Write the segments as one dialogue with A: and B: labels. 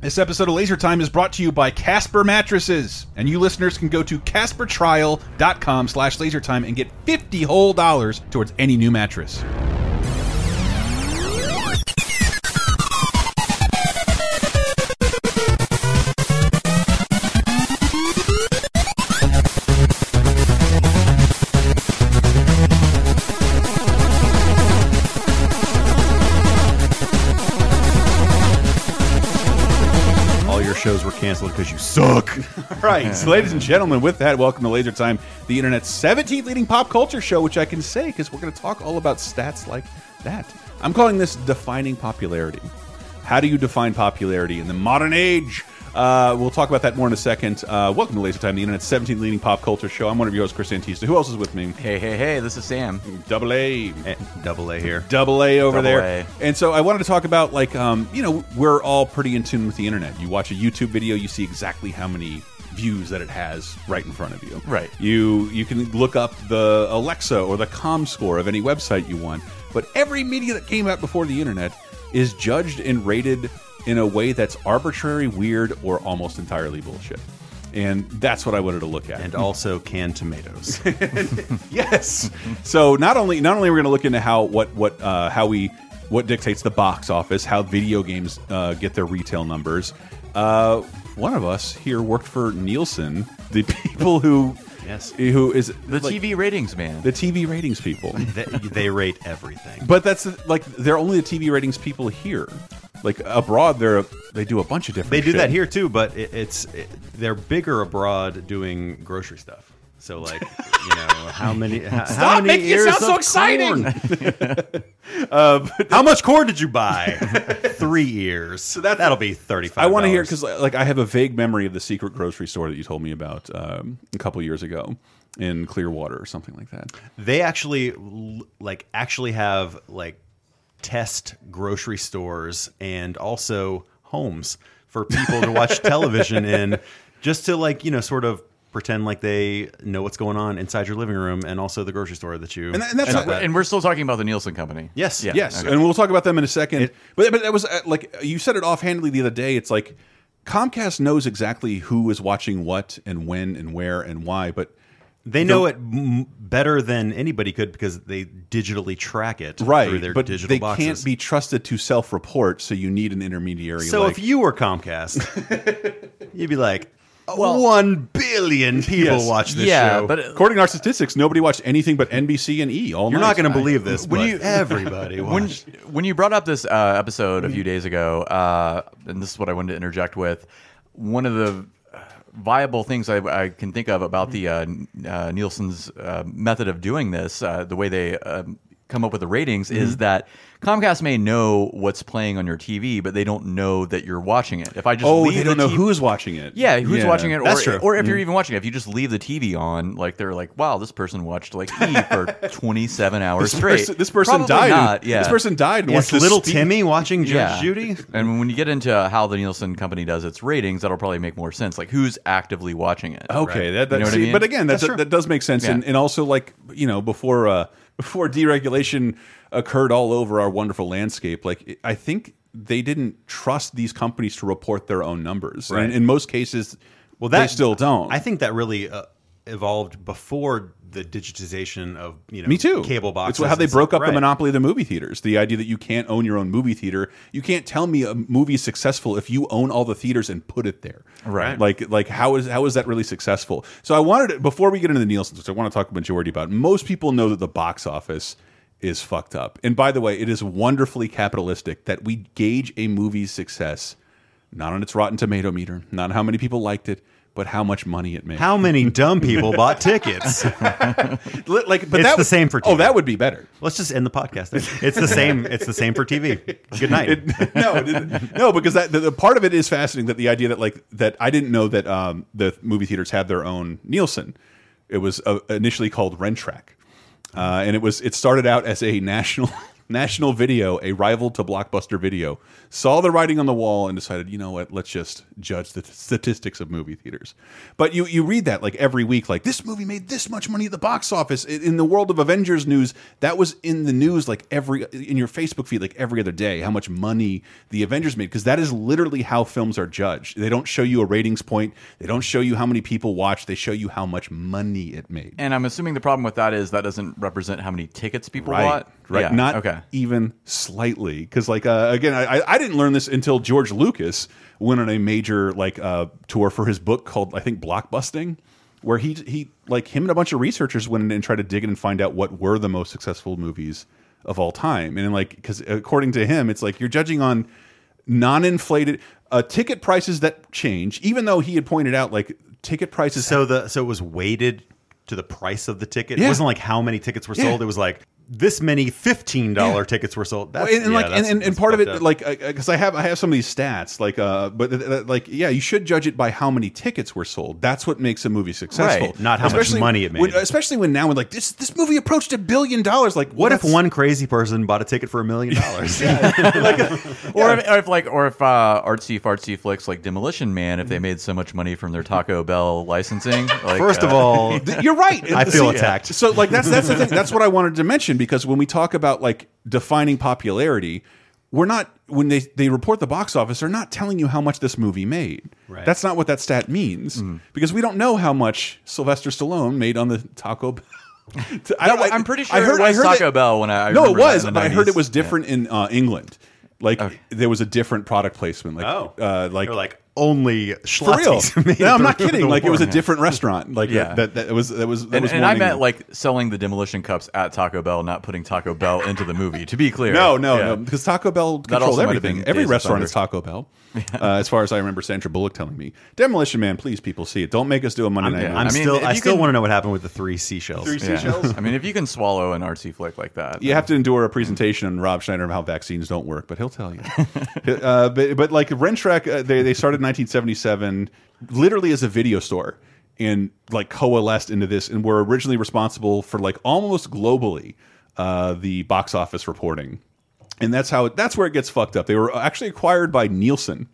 A: This episode of Laser Time is brought to you by Casper Mattresses, and you listeners can go to CasperTrial.com slash lasertime and get 50 whole dollars towards any new mattress. All your shows were canceled because you suck. right. So, ladies and gentlemen, with that, welcome to Laser Time, the internet's 17th leading pop culture show, which I can say because we're going to talk all about stats like that. I'm calling this defining popularity. How do you define popularity in the modern age? Uh, we'll talk about that more in a second. Uh, welcome to Laser Time, the internet's 17th leading pop culture show. I'm one of your hosts, Chris Antista. Who else is with me?
B: Hey, hey, hey, this is Sam.
A: Double A.
B: Eh, Double A here.
A: double A over
B: Double
A: there.
B: A.
A: And so I wanted to talk about like um, you know we're all pretty in tune with the internet. You watch a YouTube video, you see exactly how many views that it has right in front of you.
B: Right.
A: You you can look up the Alexa or the Com score of any website you want. But every media that came out before the internet is judged and rated in a way that's arbitrary, weird, or almost entirely bullshit. And that's what I wanted to look at.
B: And also canned tomatoes.
A: Yes. so not only not only we're going to look into how what what uh, how we what dictates the box office, how video games uh, get their retail numbers. Uh, one of us here worked for Nielsen, the people who
B: Yes.
A: who is
C: The TV ratings, man.
A: the TV ratings people.
B: they, they rate everything.
A: But that's like they're only the TV ratings people here. Like abroad, they're they do a bunch of different.
B: They do
A: shit.
B: that here too, but it, it's it, they're bigger abroad doing grocery stuff. So like, you know, how many? How, how
A: Stop
B: many
A: making it
B: ears
A: sound so
B: of
A: exciting!
B: corn?
A: Uh,
B: how much corn did you buy? Three ears. So that that'll be thirty-five.
A: I want to hear because like I have a vague memory of the secret grocery store that you told me about um, a couple years ago in Clearwater or something like that.
B: they actually l- like actually have like test grocery stores and also homes for people to watch television in just to like you know sort of pretend like they know what's going on inside your living room and also the grocery store that you
A: And tha- and that's
B: shop
A: not-
B: at.
C: and we're still talking about the Nielsen company.
B: Yes.
C: Yeah. Uh,
A: Yes,
C: okay.
A: and we'll talk about them in a second. but but that was uh, like you said it offhandedly the other day. It's like Comcast knows exactly who is watching what and when and where and why. But
B: they know it m- better than anybody could because they digitally track it through
A: right,
B: their
A: but
B: digital
A: they
B: boxes.
A: can't be trusted to self-report. So you need an intermediary.
B: so
A: like,
B: if you were Comcast, you'd be like, one billion people
A: Yes.
B: watch this
C: yeah,
B: show.
C: but uh,
A: according to our statistics, nobody watched anything but NBC and E all
B: You're
A: night.
B: not going
A: I-
B: to believe this,
C: When
B: but
C: you-
B: everybody
C: when
B: watched.
C: when you brought up this uh, episode a few days ago, uh, and this is what I wanted to interject with, one of the uh, viable things I, I can think of about the uh, N- uh, Nielsen's uh, method of doing this, uh, the way they um, come up with the ratings, is that Comcast may know what's playing on your TV, but they don't know that you're watching it. If I just
A: Oh,
C: leave
A: they
C: the
A: don't know
C: TV
A: who's watching it.
C: Yeah, who's watching it, or,
B: that's true.
C: or if
A: Mm-hmm.
C: you're even watching it, if you just leave the TV on, like they're like, "Wow, this person watched like E for 27 hours
A: This
C: straight."
A: person, this person
C: Probably
A: died.
C: Not, yeah,
A: This person died. And
B: Is
A: watched this
B: little
A: speech.
B: Timmy watching Judge
C: yeah.
B: Judy?
C: And when you get into how the Nielsen company does its ratings, that'll probably make more sense. Like who's actively watching it?
A: Okay,
C: right?
A: that, that
C: You know what I
A: see,
C: mean?
A: but again, that's, that does make sense, and,
C: Yeah.
A: and also like you know before uh, before deregulation occurred all over our wonderful landscape, like I think they didn't trust these companies to report their own numbers,
B: Right.
A: and in most cases, well, they still don't.
B: I think that really uh, evolved before the digitization of you know
A: me too.
B: cable boxes.
A: It's how they
B: and
A: broke
B: stuff.
A: up the
B: Right.
A: monopoly of the movie theaters. The idea that you can't own your own movie theater. You can't tell me a movie's successful if you own all the theaters and put it there.
C: Right.
A: Like like how is how is that really successful? So I wanted to, before we get into the Nielsen, which I want to talk majority about. Most people know that the box office is fucked up. And by the way, it is wonderfully capitalistic that we gauge a movie's success not on its Rotten Tomato meter, not how many people liked it, but how much money it made.
B: How many dumb people bought tickets?
A: Li- like, but
B: It's
A: that
B: the same for
A: oh,
B: TV.
A: that would be better.
B: Let's just end the podcast. there. It's the same. It's the same for TV. Good night.
A: It- no, it didn't. no, because that the, the part of it is fascinating. That the idea that like that I didn't know that um, the movie theaters had their own Nielsen. It was uh, initially called Rentrack, uh, and it was it started out as a national National Video, a rival to Blockbuster Video, saw the writing on the wall and decided, you know what, let's just judge the t- statistics of movie theaters. But you you read that like every week, like this movie made this much money at the box office. In in the world of Avengers news, that was in the news like every in your Facebook feed like every other day. How much money the Avengers made because that is literally how films are judged. They don't show you a ratings point. They don't show you how many people watch. They show you how much money it made.
C: And I'm assuming the problem with that is that doesn't represent how many tickets people
A: Right.
C: bought.
A: Right.
C: Yeah,
A: Not
C: okay.
A: even slightly. Because, like, uh, again, I, I- I didn't learn this until George Lucas went on a major, like, uh, tour for his book called, I think, Blockbusting, where he, he, like, him and a bunch of researchers went in and tried to dig in and find out what were the most successful movies of all time. And, like, because according to him, it's like you're judging on non inflated uh, ticket prices that change, even though he had pointed out, like, ticket prices.
B: So the so it was weighted to the price of the ticket.
A: Yeah.
B: It wasn't like how many tickets were
A: Yeah.
B: sold. It was like this many fifteen dollar tickets were sold. That's,
A: and, and
B: yeah,
A: like and,
B: that's-
A: and, and
B: that's
A: part of it
B: fucked up.
A: like because I have I have some of these stats like uh but th- th- like yeah you should judge it by how many tickets were sold that's what makes a movie successful
C: Right,
B: not how much money it made.
A: when- especially when now when like this this movie approached a billion dollars like
B: what if
A: that's-
B: one crazy person bought a ticket for a million dollars?
C: Or, if, or if like, or if uh, artsy fartsy flicks like Demolition Man, if they
A: Mm-hmm.
C: made so much money from their Taco Bell licensing. Like,
B: First of
C: uh,
B: all,
A: Th- You're right.
B: I feel
A: See,
B: attacked.
A: So like that's that's the thing. That's what I wanted to mention because when we talk about like defining popularity, we're not when they they report the box office, they're not telling you how much this movie made.
B: Right.
A: That's not what that stat means
B: Mm-hmm.
A: because we don't know how much Sylvester Stallone made on the Taco Bell. I
C: That wa- I'm pretty sure it was Taco Bell when I- I
A: no, it
C: remember that
A: was,
C: in the
A: but I heard it
C: 90s.
A: was different in uh, England. Like there was a different product placement. Like
B: oh,
A: uh, like
B: They're like only
A: for real.
B: Schlotzky's
A: No, I'm not
B: through
A: kidding.
B: the
A: Like it was a
B: war.
A: different restaurant. Like
C: Yeah.
A: that, that was that was that
C: and,
A: was
C: and
A: more
C: I
A: in
C: meant
A: England.
C: like selling the demolition cups at Taco Bell, not putting Taco Bell into the movie. To be clear,
A: No, no,
C: Yeah.
A: no. Because Taco Bell controls
C: also might have
A: everything.
C: been
A: Every
C: Days of
A: restaurant
C: Thunder.
A: is Taco Bell, uh, as far as I remember. Sandra Bullock telling me, "Demolition Man, please, people, see it. Don't make us do a Monday
B: I'm,
A: night."
B: I'm
A: movie."
C: mean,
B: still
C: if
B: I
C: you
B: still
C: can-
B: want to know what happened with the three seashells.
A: Three
C: Yeah.
A: seashells.
C: I mean, if you can swallow an artsy flick like that,
A: You have to endure a presentation on Rob Schneider of how vaccines don't work, but he'll tell you. uh, but, but like Rentrack, uh, they, they started in 1977 literally as a video store and like coalesced into this and were originally responsible for like almost globally uh, the box office reporting. And that's how it, that's where it gets fucked up. They were actually acquired by Nielsen.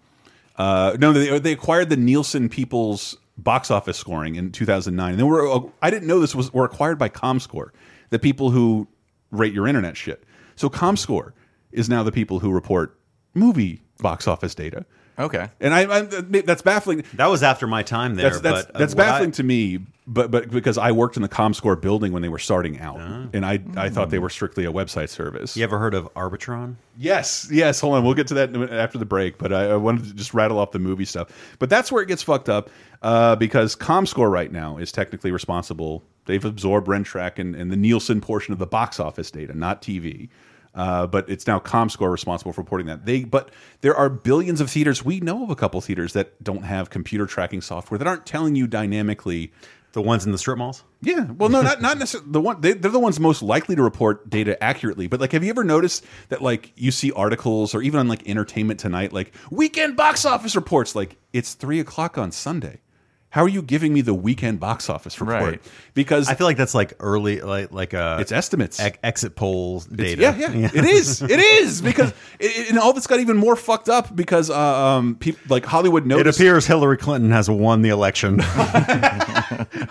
A: Uh, no, they, they acquired the Nielsen People's box office scoring in 2009. And then were uh, I didn't know this was were acquired by Comscore, the people who rate your internet shit. So Comscore is now the people who report movie box office data.
C: okay.
A: And I, I that's baffling.
B: That was after my time there.
A: That's that's,
B: but, uh,
A: that's
B: what I-
A: baffling to me, but but because I worked in the Comscore building when they were starting out,
B: Ah.
A: and I I thought they were strictly a website service.
B: You ever heard of Arbitron?
A: Yes, yes. Hold on, we'll get to that in a minute after the break. But I, I wanted to just rattle off the movie stuff. But that's where it gets fucked up uh, because Comscore right now is technically responsible. They've absorbed Rentrack and, and the Nielsen portion of the box office data, not TV. Uh, but it's now Comscore responsible for reporting that. They, but there are billions of theaters. We know of a couple theaters that don't have computer tracking software that aren't telling you dynamically
B: The ones in the strip malls?
A: yeah, well, no, not not necessarily the one. They, they're the ones most likely to report data accurately. But like, have you ever noticed that like you see articles or even on like Entertainment Tonight, like weekend box office reports, like it's three o'clock on Sunday. How are you giving me the weekend box office report?
C: Right.
A: Because
B: I feel like that's like early, like like a
A: it's estimates.
B: ex- exit poll data.
A: Yeah, yeah, it is. It is because it, it- and all this got even more fucked up because uh, um, people like Hollywood
B: It
A: noticed.
B: appears Hillary Clinton has won the election.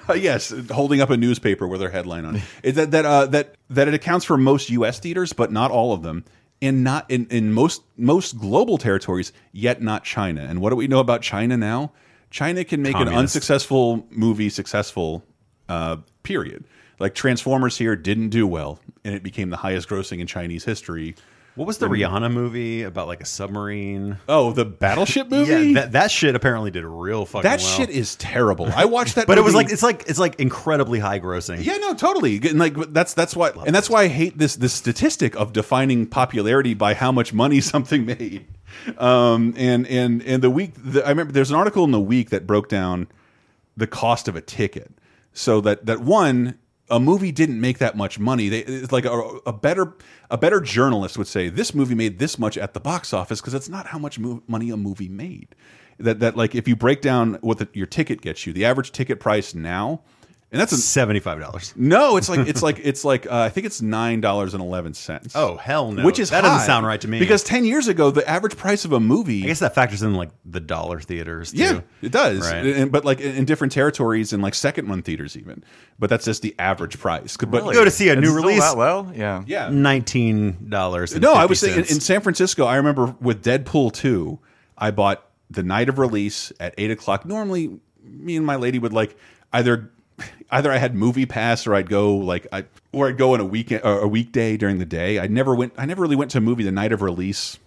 A: Uh, yes, holding up a newspaper with their headline on it. Is that that uh, that that it accounts for most U.S. theaters, but not all of them, and not in in most most global territories, yet not China. And what do we know about China now? China can make an
B: Communist.
A: unsuccessful movie successful. Uh, period. Like Transformers here didn't do well, and it became the highest grossing in Chinese history.
B: what was the Rihanna movie about like a submarine?
A: Oh, the battleship movie.
B: Yeah, that, that shit apparently did real fucking
A: that
B: well.
A: shit is terrible. I watched that,
B: But it was
A: movie-
B: like it's like it's like incredibly high grossing.
A: Yeah, no, totally. And like but that's that's why, and that's why I hate this this statistic of defining popularity by how much money something made. Um, and and and the week, the, I remember there's an article in the week that broke down the cost of a ticket. So that that one, a movie didn't make that much money. They it's like a, a better a better journalist would say this movie made this much at the box office because that's not how much mo money a movie made. That that like if you break down what the, your ticket gets you, the average ticket price now and that's a
B: seventy five dollars.
A: no. It's like it's like it's like uh, I think it's nine dollars and eleven cents.
B: Oh hell no!
A: which is
B: that
A: high,
B: doesn't sound right to me.
A: Because ten years ago, the average price of a movie,
B: I guess that factors in like the dollar theaters. Too.
A: yeah, it does.
B: Right.
A: And, but like in, in different territories and like second run theaters even. But that's just the average price. But
B: You go to see a new
C: It's still
B: release.
C: that low? Yeah.
A: yeah,
B: Nineteen dollars.
A: No, I was saying in, in San Francisco. I remember with Deadpool two, I bought the night of release at eight o'clock. Normally, me and my lady would like either either I had movie pass or I'd go like I or I'd go on a weekend or a weekday during the day. I never went. I never really went to a movie the night of release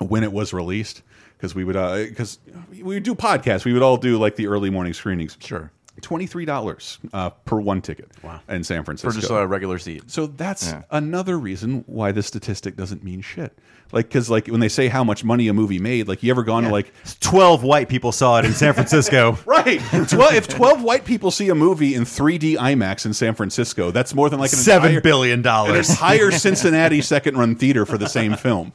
A: when it was released because we would because we would do podcasts. We would all do like the early morning screenings.
C: Sure.
A: Twenty three dollars uh, per one ticket. Wow. In San Francisco.
C: Or just a regular seat.
A: So that's
C: Yeah.
A: another reason why this statistic doesn't mean shit. Like, because like when they say how much money a movie made, like you ever gone to like.
B: twelve white people saw it in San Francisco.
A: Right. Twelve. If twelve white people see a movie in 3D IMAX in San Francisco, that's more than like an
B: Seven
A: entire,
B: billion
A: an
B: dollars.
A: entire Cincinnati second-run theater for the same film.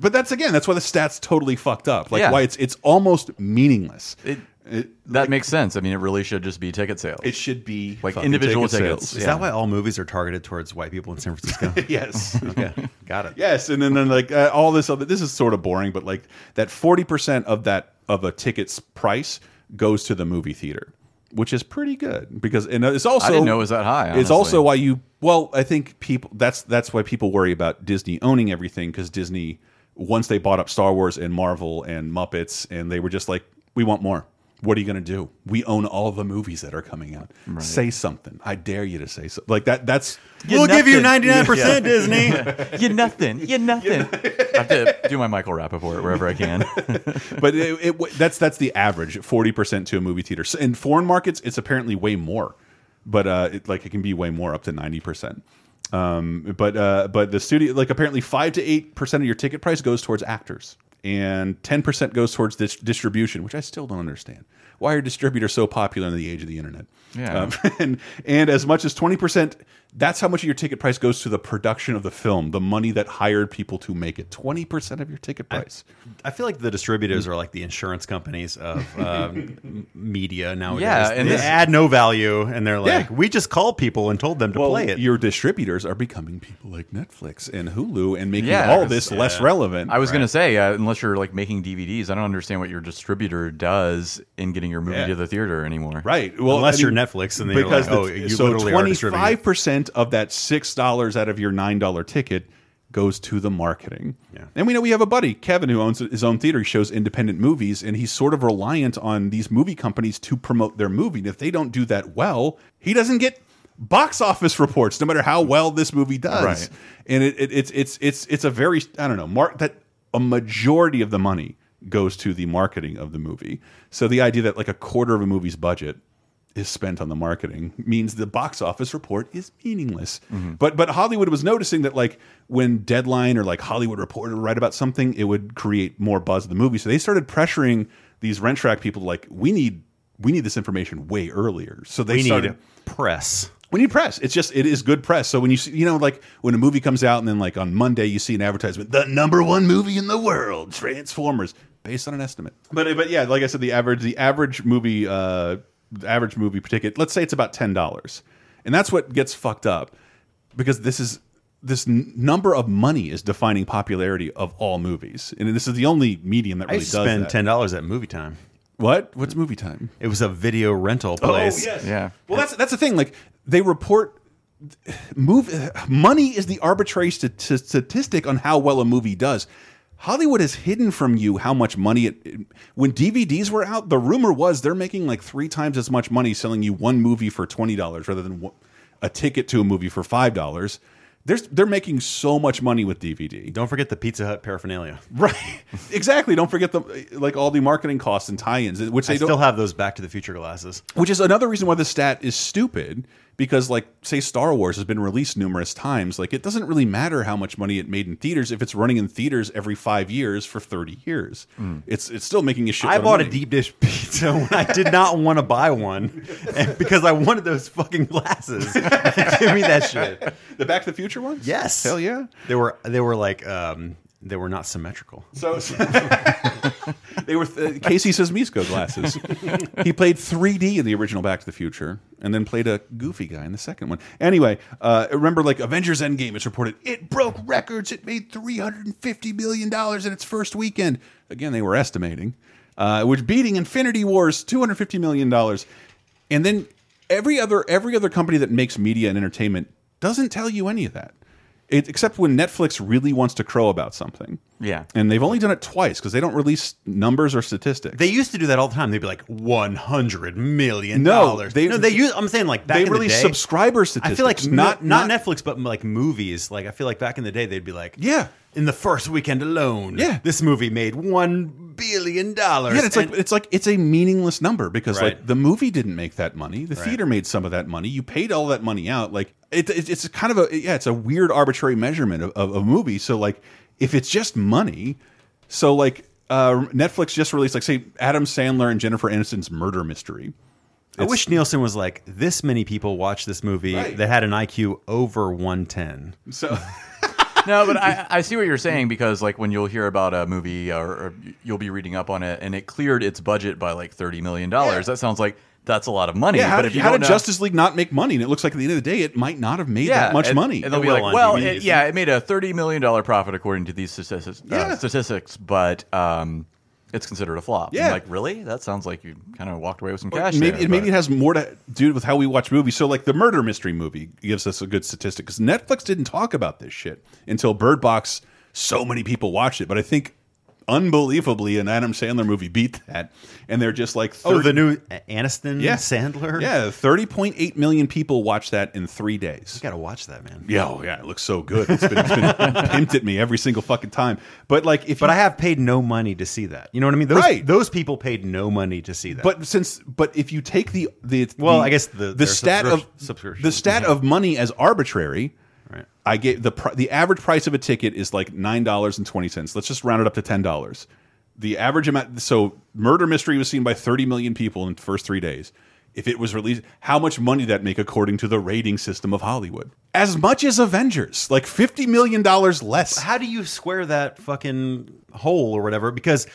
A: But that's again, that's why the stats totally fucked up. Like
C: Yeah.
A: why it's it's almost meaningless. It,
C: It, that makes sense. I mean, it really should just be ticket sales.
A: should be
C: Like
A: fucking
C: individual
A: ticket
C: tickets.
A: sales.
B: Is that why all movies are targeted towards white people in San Francisco?
A: Yes.
B: okay, got it.
A: Yes, and then, then like uh, all this other. This is sort of boring, but like that forty percent of that of a ticket's price goes to the movie theater, which is pretty good because and it's also
C: I didn't know it was that high.
A: It's
C: honestly.
A: also why you. Well, I think people. That's that's why people worry about Disney owning everything because Disney once they bought up Star Wars and Marvel and Muppets and they were just like, we want more. What are you going to do? We own all the movies that are coming out. Say something. I dare you to say something. Like that. That's
B: We'll give you
C: nothing.
B: ninety nine percent Disney.
C: you nothing. You nothing. I have to do my Michael Rappaport wherever I can.
A: but it, it, that's that's the average forty percent to a movie theater. So in foreign markets, it's apparently way more, but uh, it, like it can be way more up to ninety percent. Um, but uh, but the studio like apparently five to eight percent of your ticket price goes towards actors, and ten percent goes towards dis distribution, which I still don't understand. Why are distributors so popular in the age of the internet? Um,
C: Yeah.
A: and and as much as twenty percent, that's how much of your ticket price goes to the production of the film, the money that hired people to make it. Twenty percent of your ticket price.
B: I feel like the distributors are like the insurance companies of um, m- media nowadays.
C: Yeah, and
B: they
C: this-
B: add no value, and they're like,
A: Yeah.
B: we just called people and told them to play it.
A: Your distributors are becoming people like Netflix and Hulu and making
C: Yeah,
A: all
C: it's-
A: this less relevant.
C: I was going to say, uh, unless you're like making DVDs, I don't understand what your distributor does in getting your movie
A: Yeah.
C: to the theater anymore.
A: right. Well, I
B: Unless
A: mean,
B: you're Netflix, and then you're
A: because
B: like, oh,
A: the-
B: you
A: so
B: literally are distributing.
A: five percent of that six dollars out of your nine dollar ticket goes to the marketing.
B: Yeah.
A: And we know we have a buddy, Kevin, who owns his own theater. He shows independent movies, and he's sort of reliant on these movie companies to promote their movie. And if they don't do that well, he doesn't get box office reports, no matter how well this movie does.
C: Right.
A: And it, it, it's it's it's it's a very I don't know mark that a majority of the money goes to the marketing of the movie. So the idea that like a quarter of a movie's budget is spent on the marketing means the box office report is meaningless.
B: Mm-hmm.
A: But but Hollywood was noticing that like when Deadline or like Hollywood Reporter would write about something, it would create more buzz of the movie. So they started pressuring these rent track people like we need we need this information way earlier. So they
B: we
A: started
B: need press.
A: we need press. It's just it is good press. So when you see, you know, like when a movie comes out and then like on Monday you see an advertisement, the number one movie in the world, Transformers, based on an estimate. But but yeah, like I said, the average the average movie uh, the average movie ticket, let's say it's about ten dollars, and that's what gets fucked up because this is this n number of money is defining popularity of all movies, and this is the only medium that
B: I
A: really
B: used to
A: does
B: spend
A: that.
B: ten dollars at movie time.
A: What what's movie time?
B: It was a video rental place.
A: Oh yes.
C: Yeah.
A: Well, that's that's the thing. Like they report move money is the arbitrary st statistic on how well a movie does. Hollywood has hidden from you how much money it, it- When DVDs were out, the rumor was they're making like three times as much money selling you one movie for twenty dollars rather than one- a ticket to a movie for five dollars. They're they're making so much money with DVD.
B: Don't forget the Pizza Hut paraphernalia.
A: Right, exactly. Don't forget the like all the marketing costs and tie-ins, which they
B: I
A: don't
B: still have those Back to the Future glasses.
A: which is another reason why the stat is stupid because like say star wars has been released numerous times like it doesn't really matter how much money it made in theaters if it's running in theaters every five years for 30 years it's it's still making a shit
B: Mm. I bought a
A: of money.
B: deep dish pizza when I did not want to buy one and because I wanted those fucking glasses. Give me that shit.
A: the back to the future ones
B: Yes.
A: hell yeah
B: They were they were like um they were not symmetrical.
A: so They were th Casey Sismisco glasses. he played 3D in the original Back to the Future, and then played a goofy guy in the second one. Anyway, uh, remember like Avengers Endgame? It's reported it broke records. It made 350 million dollars in its first weekend. Again, they were estimating, uh, which beating Infinity War's 250 million dollars, and then every other every other company that makes media and entertainment doesn't tell you any of that. It, except when Netflix really wants to crow about something.
C: Yeah.
A: And they've only done it twice because they don't release numbers or statistics.
B: They used to do that all the time. They'd be like one hundred million
A: No,
B: dollars.
A: they-
B: no, they use. I'm saying like back
A: they
B: in the
A: release
B: day,
A: subscriber
B: I
A: statistics.
B: feel like not, not Netflix, but like movies. Like I feel like back in the day, they'd be like,
A: Yeah.
B: in the first weekend alone,
A: Yeah.
B: this movie made one billion dollars.
A: Yeah, it's like it's like it's a meaningless number because like
B: Right.
A: the movie didn't make that money, the theater made some of that money. You paid all that money out. Like it, it, it's kind of a yeah, it's a weird arbitrary measurement of, of a movie. So like if it's just money, so like uh, Netflix just released like say Adam Sandler and Jennifer Aniston's murder mystery.
B: I wish Nielsen was like this many people watched this movie
A: Right.
B: that had an IQ over one ten.
A: So.
C: no, but I, I see what you're saying because like when you'll hear about a movie uh, or, or you'll be reading up on it and it cleared its budget by like thirty million dollars. That sounds like that's a lot of money.
A: Yeah, how
C: but
A: did,
C: if you
A: how
C: don't
A: did
C: know,
A: Justice League not make money? And it looks like at the end of the day, it might not have made that much
C: and-
A: money.
C: And they'll be
B: will
C: like,
B: on
C: well,
B: DVDs.
C: it, yeah, it made a thirty million dollar profit according to these statistics.
A: Yeah.
C: Uh, statistics, but um, it's considered a flop. I'm
A: Yeah.
C: like really? That sounds like you kind of walked away with some
A: Or
C: cash.
A: maybe
C: there,
A: it, maybe
C: but-
A: it has more to do with how we watch movies. So, like the murder mystery movie gives us a good statistic because Netflix didn't talk about this shit until Bird Box. So many people watched it, but I think unbelievably, an Adam Sandler movie beat that, and they're just like, 30,
B: Oh, the new Aniston
A: yeah,
B: Sandler.
A: yeah, thirty point eight million people watched that in three days.
B: you gotta watch that man.
A: Yeah, oh, yeah, it looks so good. It's been, it's been pimped at me every single fucking time. But like, if
B: But
A: you,
B: I have paid no money to see that. You know what I mean? Those,
A: Right.
B: Those people paid no money to see that.
A: But since, but if you take the the
B: Well,
A: the-
B: I guess the-
A: the
B: their
A: stat of
B: subscrip- subscription.
A: the stat of money as arbitrary,
B: Right.
A: I get the pr the average price of a ticket is like nine dollars and twenty cents. Let's just round it up to ten dollars. The average amount. So, Murder Mystery was seen by thirty million people in the first three days. If it was released, how much money did that make according to the rating system of Hollywood? As much as Avengers, like fifty million dollars less.
B: how do you square that fucking hole or whatever? Because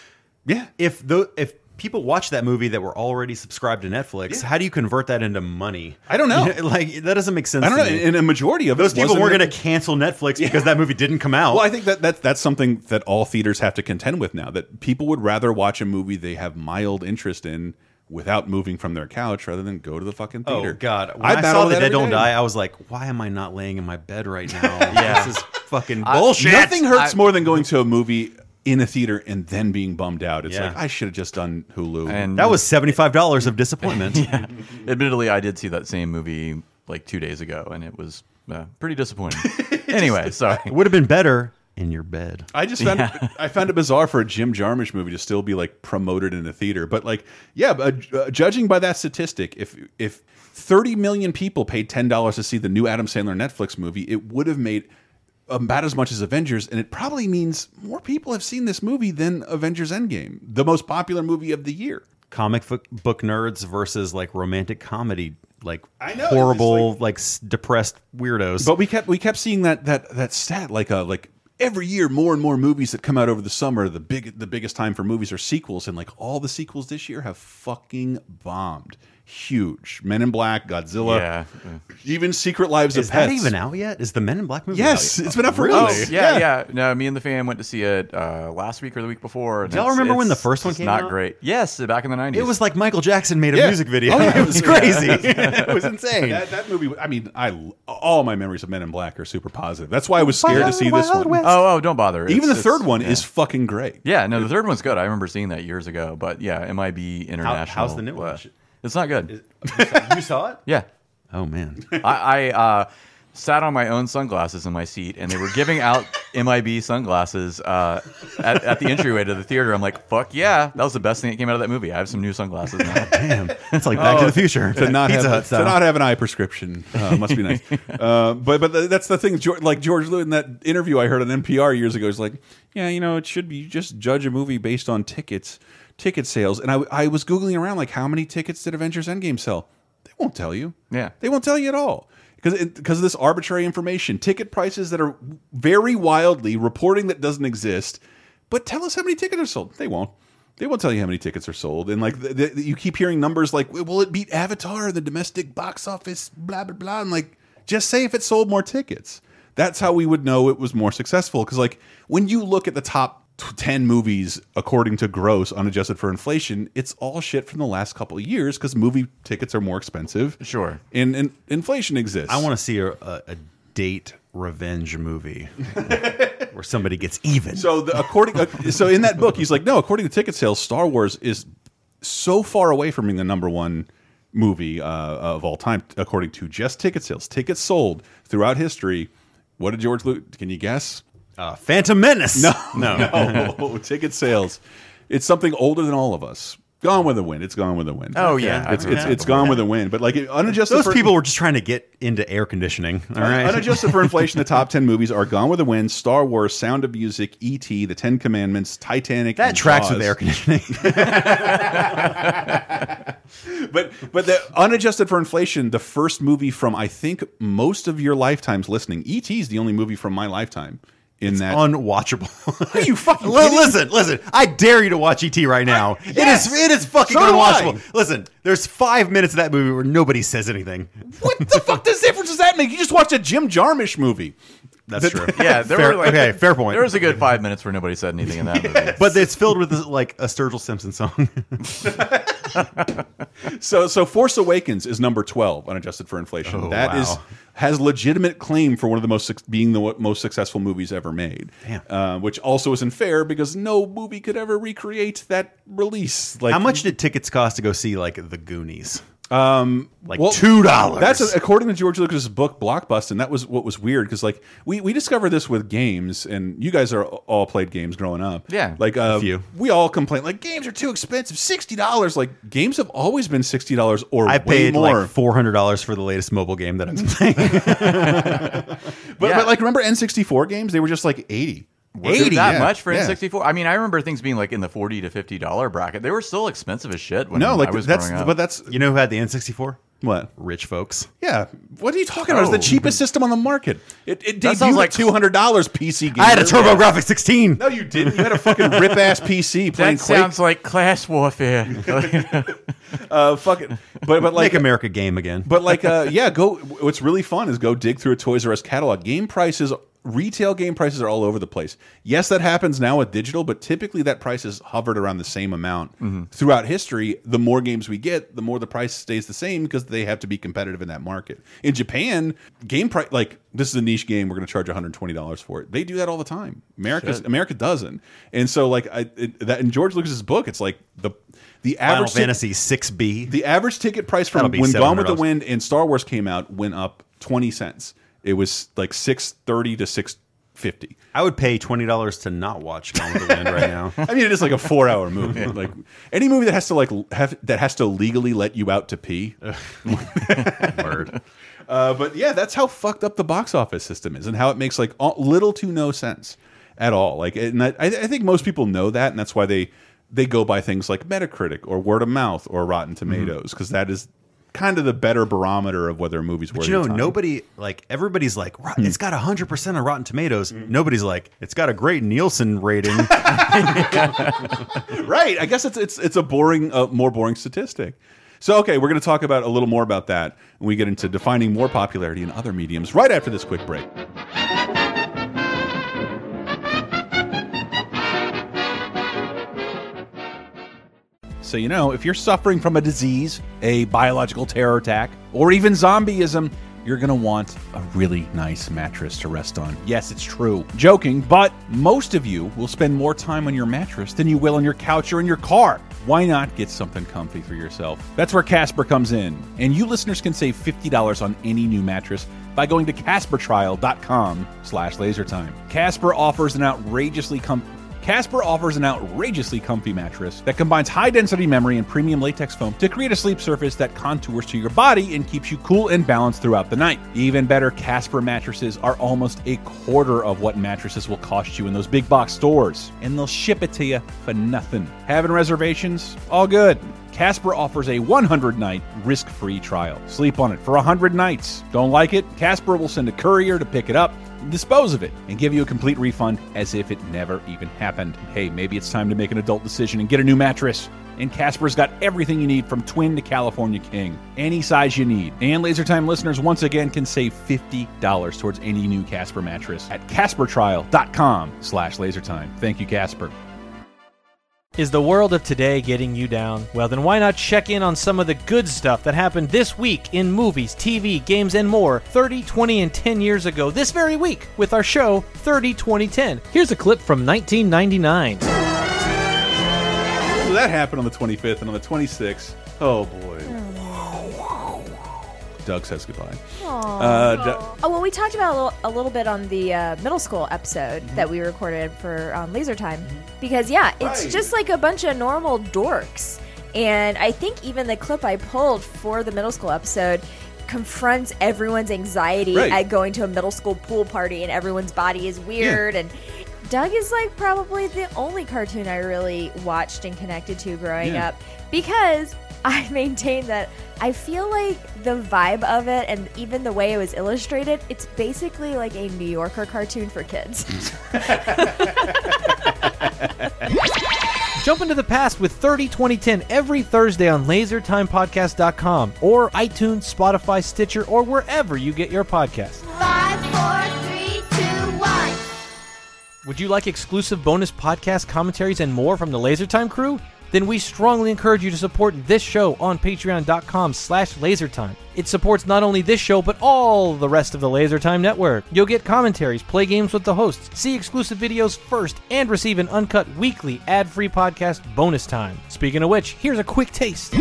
A: Yeah.
B: if the if people watch that movie that were already subscribed to Netflix,
A: Yeah.
B: how do you convert that into money?
A: I don't know.
B: like that doesn't make sense.
A: I don't
B: to
A: know.
B: me.
A: And a majority of
B: Those
A: it
B: people
A: wasn't
B: were
A: a-
B: going to cancel Netflix because that movie didn't come out.
A: Well, I think that, that that's something that all theaters have to contend with now. That people would rather watch a movie they have mild interest in without moving from their couch rather than go to the fucking
B: oh
A: theater.
B: God! When I,
A: battle
B: saw
A: with
B: that Dead
A: every
B: Don't
A: day.
B: Die, I was like, why am I not laying in my bed right now?
C: Yeah.
B: this is fucking
C: I-
B: bullshit.
A: Nothing hurts
C: I-
A: more than going to a movie in a theater and then being bummed out. It's
B: Yeah.
A: like I should have just done Hulu.
C: And-
B: That was seventy five dollars of disappointment.
C: Admittedly, I did see that same movie like two days ago, and it was uh, pretty disappointing. anyway, sorry.
B: It would have been better in your bed.
A: I just found it, I found it bizarre for a Jim Jarmusch movie to still be like promoted in the theater, but like yeah, but, uh, judging by that statistic, if if 30 million people paid ten dollars to see the new Adam Sandler Netflix movie, it would have made um, about as much as Avengers, and it probably means more people have seen this movie than Avengers Endgame, the most popular movie of the year.
B: comic book, book nerds versus like romantic comedy like
A: I know,
B: horrible
A: it's
B: like, s depressed weirdos
A: But we kept we kept seeing that that that stat like uh like every year more and more movies that come out over the summer the big the biggest time for movies are sequels and like all the sequels this year have fucking bombed huge Men in Black Godzilla
C: Yeah.
A: even Secret Lives
B: is
A: of
B: that
A: Pets
B: even out yet is the men in black movie
A: yes
B: out yet?
A: it's been out for
B: Really?
A: months.
C: Oh, yeah, yeah, No, me and the fam went to see it uh, last week or the week before. and
B: Do y'all
C: it's-
B: remember when
C: it's
B: the first one
C: just
B: came
C: not
B: out?
C: great. Yes, uh, back in the 90s.
B: it was like michael jackson made a
A: Yeah.
B: music video
A: Oh, yeah.
B: it was crazy it was insane
A: That, that movie, I mean, I all my memories of Men in Black are super positive. That's why I was scared to
B: Wild,
A: see this
B: wild
A: one.
B: west.
C: Oh, oh, don't bother.
A: Even the
C: It's-
A: third
C: it's-
A: one
C: yeah.
A: is fucking great.
C: Yeah, no, the third one's good. I remember seeing that years ago, but yeah, MIB International.
B: how's the new one?
C: uh, It's not good.
B: you saw it
C: Yeah.
B: oh man
C: I, I uh, sat on my own sunglasses in my seat, and they were giving out MIB sunglasses uh, at, at the entryway to the theater. I'm like, fuck yeah, that was the best thing that came out of that movie. I have some new sunglasses now.
B: damn that's like back to the future
A: Oh, to not
B: Pizza Hut
A: have to
B: style.
A: not have an eye prescription uh, must be nice. uh, but but that's the thing. George, like George Lewis in that interview I heard on NPR years ago is like, yeah, you know, it should be you just judge a movie based on tickets, ticket sales. And I I was googling around like how many tickets did Avengers Endgame sell? They won't tell you.
C: Yeah.
A: they won't tell you at all. Because because of this arbitrary information, ticket prices that are very wildly reporting that doesn't exist, but tell us how many tickets are sold. They won't. They won't tell you how many tickets are sold, and like the, the, you keep hearing numbers like, "Will it beat Avatar in the domestic box office?" Blah blah blah, and like just say if it sold more tickets. That's how we would know it was more successful. Because like when you look at the top t- ten movies according to gross, unadjusted for inflation, it's all shit from the last couple of years because movie tickets are more expensive.
C: Sure.
A: and, and inflation exists.
B: I want to see a, a, a date revenge movie where somebody gets even.
A: So the, according, uh, so in that book, he's like, no, according to ticket sales, Star Wars is so far away from being the number one movie uh, of all time, according to just ticket sales, tickets sold throughout history. What did George Lucas? Can you guess?
B: uh, Phantom Menace. No, no.
A: No, ticket sales. It's something older than all of us. Gone with the Wind. It's Gone with the Wind.
C: Oh, yeah.
A: it's
C: I
A: it's,
C: remember
A: it's Gone with the Wind. But like it- unadjusted.
B: Those
A: for-
B: people were just trying to get into air conditioning. All right.
A: Unadjusted for inflation, the top 10 movies are Gone with the Wind, Star Wars, Sound of Music, E.T., The Ten Commandments, Titanic.
B: that
A: and
B: tracks with
A: Jaws.
B: air conditioning.
A: But but the unadjusted for inflation, the first movie from I think most of your lifetimes listening. E.T. is the only movie from my lifetime in that.
B: Unwatchable.
A: Are you fucking
B: Li-
A: kidding me?
B: listen, listen. I dare you to watch ET right now.
A: yes.
B: It is it is fucking
A: So do
B: unwatchable. Listen, there's five minutes of that movie where nobody says anything.
A: what the fuck does difference does that make? You just watched a Jim Jarmusch movie.
B: That's true.
C: Yeah, there
B: fair,
C: were like,
B: okay, fair point.
C: There was a good five minutes where nobody said anything in that movie.
B: but it's filled with like a Sturgill Simpson song.
A: So so Force Awakens is number twelve unadjusted for inflation.
B: Oh,
A: That
B: wow.
A: is has legitimate claim for one of the most suc- being the most successful movies ever made.
B: Damn.
A: Uh, which also isn't fair because no movie could ever recreate that release. Like
B: How much did tickets cost to go see like The Goonies? Um, like
A: well,
B: two dollars.
A: That's a, according to George Lucas's book Blockbuster, and that was what was weird because like we we discovered this with games, and you guys are all played games growing up.
C: Yeah,
A: like uh,
B: few.
A: we all complain like games are too expensive, sixty dollars. Like games have always been sixty dollars or
B: I
A: way
B: paid
A: more.
B: like four hundred dollars for the latest mobile game that I'm playing.
A: but,
C: Yeah.
A: but like remember N sixty four games? They were just like eighty.
C: Was it
B: 80,
C: that
A: yeah,
C: much for
A: yeah.
C: N64? I mean, I remember things being like in the forty to fifty dollar bracket. They were still expensive as shit when
A: No, like
C: I was
A: that's
C: growing up.
A: but that's
B: you know who had the N64?
A: what.
B: Rich folks.
A: Yeah, what are you talking about? It's the
C: Oh.
A: cheapest system on the market. It, it
C: That sounds
A: debuted like
C: like-
A: two hundred dollars PC game.
B: I had a TurboGrafx 16.
A: No, you didn't. You had a fucking rip ass PC playing
C: that
A: Quake.
C: sounds like class warfare.
A: uh, fuck it. But but like
B: Make America game again.
A: But like, uh, yeah, go. What's really fun is go dig through a Toys R Us catalog. Game prices, retail game prices are all over the place. Yes, that happens now with digital, but typically that price is hovered around the same amount
B: Mm-hmm.
A: throughout history. The more games we get, the more the price stays the same because they have to be competitive in that market. In Japan, game price like this is a niche game. We're going to charge one hundred twenty dollars for it. They do that all the time. America America doesn't, and so like I it, that in George Lucas's book, it's like the the
B: Final
A: average ticket-
B: Fantasy 6B.
A: the average ticket price from
B: That'll be
A: when Gone with the
B: $700.
A: Wind and Star Wars came out went up twenty cents. It was like six thirty to six fifty.
B: I would pay twenty dollars to not watch Gone with the Wind right now.
A: I mean, it is like a four-hour movie. Like any movie that has to like have that has to legally let you out to pee.
B: Word.
A: Uh, but yeah, that's how fucked up the box office system is, and how it makes like all, little to no sense at all. Like, and I, I think most people know that, and that's why they they go by things like Metacritic or word of mouth or Rotten
B: Mm-hmm.
A: Tomatoes because that is kind of the better barometer of whether a movie's worth.
B: But you know,
A: your time. Hmm.
B: nobody like everybody's like "Rot- it's got hundred percent on Rotten Tomatoes. Nobody's like it's got a great Nielsen rating.
A: Uh, right. I guess it's it's it's a boring, uh, more boring statistic. So okay, we're going to talk about a little more about that when we get into defining more popularity in other mediums right after this quick break. So, you know, if you're suffering from a disease, a biological terror attack, or even zombieism, you're going to want a really nice mattress to rest on. Yes, it's true. Joking, but most of you will spend more time on your mattress than you will on your couch or in your car. Why not get something comfy for yourself? That's where Casper comes in. And you listeners can save $50 on any new mattress by going to caspertrial.com slash lasertime. Casper offers an outrageously comfy... Casper offers an outrageously comfy mattress that combines high density memory and premium latex foam to create a sleep surface that contours to your body and keeps you cool and balanced throughout the night. Even better, Casper mattresses are almost a quarter of what mattresses will cost you in those big box stores, and they'll ship it to you for nothing. Having reservations? All good. Casper offers a 100 night risk free trial. Sleep on it for 100 nights. Don't like it? Casper will send a courier to pick it up. dispose of it and give you a complete refund as if it never even happened. Hey, maybe it's time to make an adult decision and get a new mattress. And Casper's got everything you need from twin to California King, any size you need. And Laser Time listeners once again can save $50 towards any new Casper mattress at CasperTrial.com slash lasertime. Thank you, Casper.
D: Is the world of today getting you down? Well, then why not check in on some of the good stuff that happened this week in movies, TV, games, and more 30, 20, and 10 years ago this very week with our show 30, 20, 10. Here's a clip from 1999.
A: So that happened on the 25th and on the 26th. Oh boy. Doug says goodbye. Uh, Doug-
E: Oh well, we talked about a little, a little bit on the uh, middle school episode
A: Mm-hmm.
E: that we recorded for um, Laser Time because yeah, it's
A: Right.
E: just like a bunch of normal dorks, and I think even the clip I pulled for the middle school episode confronts everyone's anxiety
A: Right.
E: at going to a middle school pool party and everyone's body is weird and. Doug is like probably the only cartoon I really watched and connected to growing
A: Yeah.
E: up because I maintain that I feel like the vibe of it and even the way it was illustrated, it's basically like a New Yorker cartoon for kids.
D: Jump into the past with 30, 20, 10 every Thursday on lasertimepodcast.com or iTunes, Spotify, Stitcher, or wherever you get your podcasts.
F: Five, four, three, two, one.
D: Would you like exclusive bonus podcast commentaries and more from the Lasertime crew? Then we strongly encourage you to support this show on patreon.com slash lasertime. It supports not only this show, but all the rest of the Lasertime network. You'll get commentaries, play games with the hosts, see exclusive videos first, and receive an uncut weekly ad-free podcast bonus time. Speaking of which, here's a quick taste.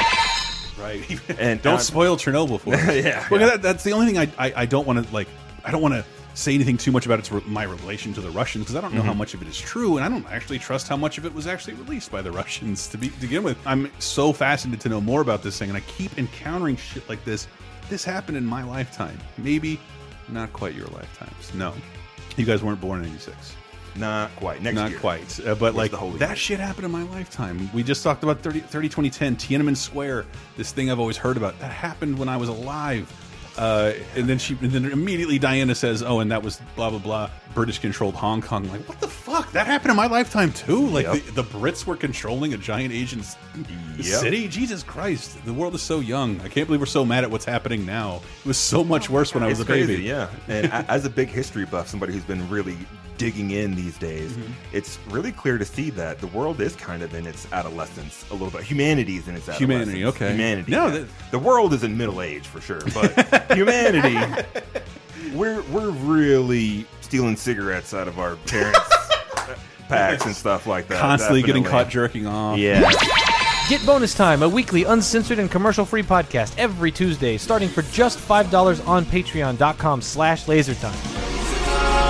A: right.
B: And
A: don't
B: uh,
A: spoil Chernobyl for us.
B: Yeah,
A: Well,
B: yeah.
A: That, that's the only thing I, I, I don't want to like. I don't want to say anything too much about its re- my relation to the Russians because I don't know
B: Mm-hmm.
A: how much of it is true, and I don't actually trust how much of it was actually released by the Russians to be to begin with. I'm so fascinated to know more about this thing, and I keep encountering shit like this. This happened in my lifetime, maybe not quite your lifetimes. No, you guys weren't born in '86.
B: not quite. Next
A: Not
B: year.
A: quite, uh, but like
B: the holy
A: that
B: grail.
A: shit happened in my lifetime. We just talked about 30, 30 2010, Tiananmen Square, this thing I've always heard about. That happened when I was alive. Uh, and then she, and then immediately Diana says, "Oh, and that was blah blah blah, British controlled Hong Kong." like, what the fuck? That happened in my lifetime too. Like the, the Brits were controlling a giant Asian s- city. Jesus Christ, the world is so young. I can't believe we're so mad at what's happening now. It was so much
B: Oh
A: worse when I was
G: It's
A: a
G: crazy,
A: baby.
G: yeah. And a- as a big history buff, somebody who's been really digging in these days,
A: Mm-hmm.
G: it's really clear to see that the world is kind of in its adolescence a little bit. Humanity is in its adolescence.
A: Humanity, okay.
G: Humanity.
A: No,
G: No,
A: that-
G: the world is in middle age for sure, but humanity, we're we're really stealing cigarettes out of our parents' packs and stuff like that.
A: Constantly getting
G: definitely.
A: caught jerking off.
G: Yeah.
D: Get Bonus Time, a weekly uncensored and commercial-free podcast every Tuesday, starting for just $5 on patreon.com slash lasertime.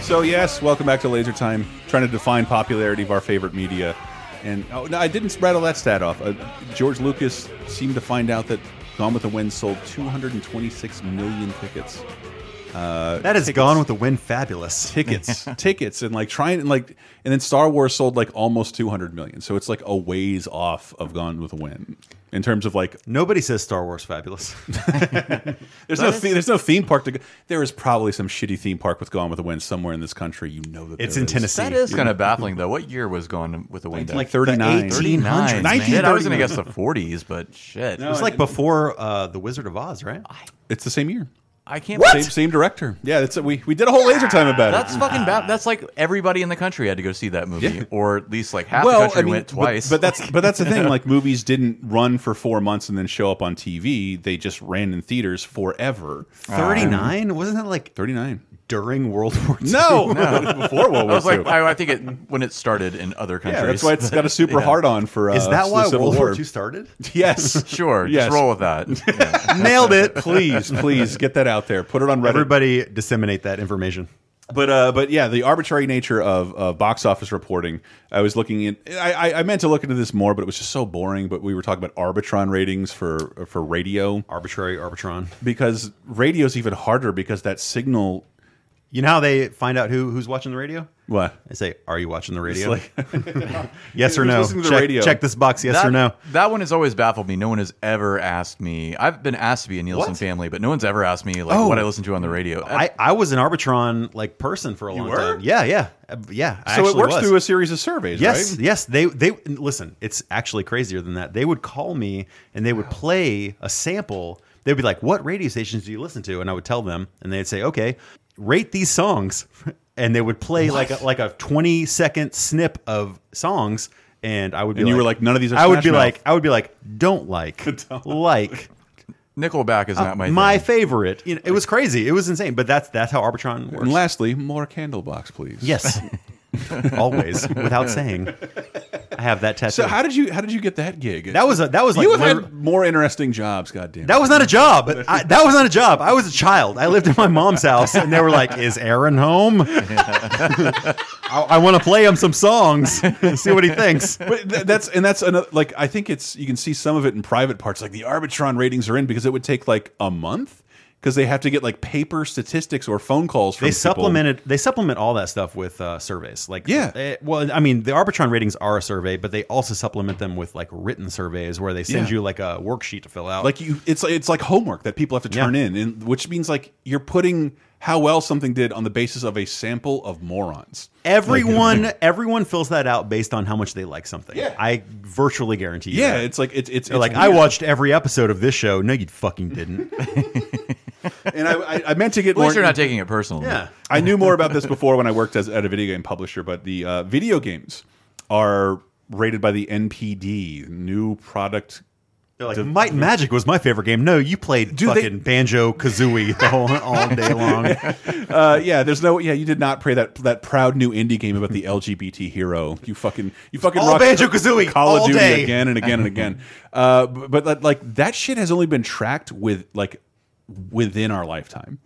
A: So yes, welcome back to Laser Time. Trying to define popularity of our favorite media, and oh, no, I didn't rattle that stat off. Uh, George Lucas seemed to find out that Gone with the Wind sold 226 million tickets.
B: That is Gone with the Wind fabulous.
A: Tickets, tickets, and like trying and like, and then Star Wars sold like almost 200 million. So it's like a ways off of Gone with the Wind in terms of like
B: Nobody says Star Wars fabulous.
A: there's no the, there's no theme park to go. There is probably some shitty theme park with Gone with the Wind somewhere in this country. You know that
B: It's
A: there
B: in
A: is.
B: Tennessee.
C: That is kind of baffling, though. What year was going with the window?
A: Like 39.
C: 39.
A: 1939.
C: Man, I was going to guess the 40s, but shit.
A: No,
B: It's like before uh, the Wizard of Oz, right?
A: Uh, It's the same year.
C: I can't
A: Same,
C: believe
A: same director. Yeah, that's we we did a whole laser time about
C: that's
A: it.
C: fucking bad. That's like everybody in the country had to go see that movie,
A: Yeah.
C: or at least like half
A: well,
C: the country
A: I mean,
C: went
A: but-
C: twice.
A: But, that's but that's the thing. Like movies didn't run for four months and then show up on TV. They just ran in theaters forever.
B: 39? Wasn't that like
A: Thirty nine.
B: during World War II?
A: No, before World
C: I
A: War
C: was like,
A: II.
C: I, I think it when it started in other countries.
A: yeah, that's why it's got a super hard on for. Uh,
B: Is that why
A: the Civil
B: World
A: War?
B: War II started?
A: Yes,
C: Sure,
A: Yes.
C: just roll with that. Yeah.
B: Nailed it.
A: Please, please get that out there. Put it on Reddit.
B: Everybody disseminate that information.
A: but uh, but yeah, the arbitrary nature of uh, box office reporting. I was looking in. I, I- I meant to look into this more, but it was just so boring. But we were talking about Arbitron ratings for for radio
B: Arbitrary Arbitron.
A: because radio's even harder because that signal.
B: You know how they find out who who's watching the radio?
A: What?
B: I say, are you watching the radio?
A: like-
B: yes or
A: Who's
B: no?
A: listening to the
B: check,
A: radio?
B: check this box, yes
C: that,
B: or no.
C: That one has always baffled me. No one has ever asked me. I've been asked to be a Nielsen
B: What?
C: family, but no one's ever asked me like
B: Oh.
C: what I listen to on the radio.
B: I, I was an Arbitron like person for a long
A: Uh, were?
B: time. Yeah, yeah, Uh, yeah. I
A: So it
B: actually
A: works
B: was.
A: through a series of surveys,
B: Yes,
A: right?
B: yes. They they listen. It's actually crazier than that. They would call me and they would play a sample. They'd be like, "What radio stations do you listen to?" And I would tell them, and they'd say, "Okay, rate these songs," and they would play like a, like a twenty second snip of songs. And I would be
A: And
B: like,
A: you were like, "None of these are
B: I would
A: Smash
B: be
A: Mouth."
B: like, I would be like, don't like, like,
C: Nickelback
A: Oh,
C: is not my
B: my
C: thing.
B: favorite. You know, it was crazy. It was insane. But that's that's how Arbitron works.
A: And lastly, more candle box, please.
B: yes, always without saying. I have that tattoo.
A: So how did you how did you get that gig?
B: That was a, that was like
A: you have
B: liter-
A: had more interesting jobs. Goddamn.
B: that was not a job. I, that was not a job. I was a child. I lived in my mom's house, and they were like, "Is Aaron home? I, I want to play him some songs, see what he thinks."
A: but th that's and that's another like I think it's you can see some of it in private parts like the Arbitron ratings are in because it would take like a month because they have to get like paper statistics or phone calls from
B: They
A: people.
B: supplemented. They supplement all that stuff with uh, surveys. Like,
A: Yeah.
B: eh, well, I mean, the Arbitron ratings are a survey, but they also supplement them with like written surveys where they send
A: Yeah.
B: you like a worksheet to fill out.
A: like you it's it's like homework that people have to turn
B: Yeah.
A: in and which means like you're putting how well something did on the basis of a sample of morons.
B: everyone, everyone fills that out based on how much they like something.
A: Yeah.
B: I virtually guarantee. you
A: Yeah,
B: that.
A: it's like it's it's,
B: They're
A: it's
B: like, I
A: weird.
B: watched every episode of this show. No, you fucking didn't.
A: and I, I I meant to get
C: At least
A: more
C: you're not taking it personally.
B: yeah.
A: I knew more about this before when I worked as at a video game publisher, but the uh, video games are rated by the NPD, New Product.
B: They're like, Might and Magic was my favorite game. No, you played
A: Dude, they-
B: fucking Banjo Kazooie the whole all day long.
A: Uh, yeah, there's no. Yeah, you did not play that that proud new indie game about the LGBT hero. You fucking you fucking
B: Hmm. All
A: rock
B: Banjo-Kazooie,
A: Call of
B: all
A: Duty
B: day.
A: again and again and again. Uh, b- but, like- like that shit has only been tracked with like within our lifetime.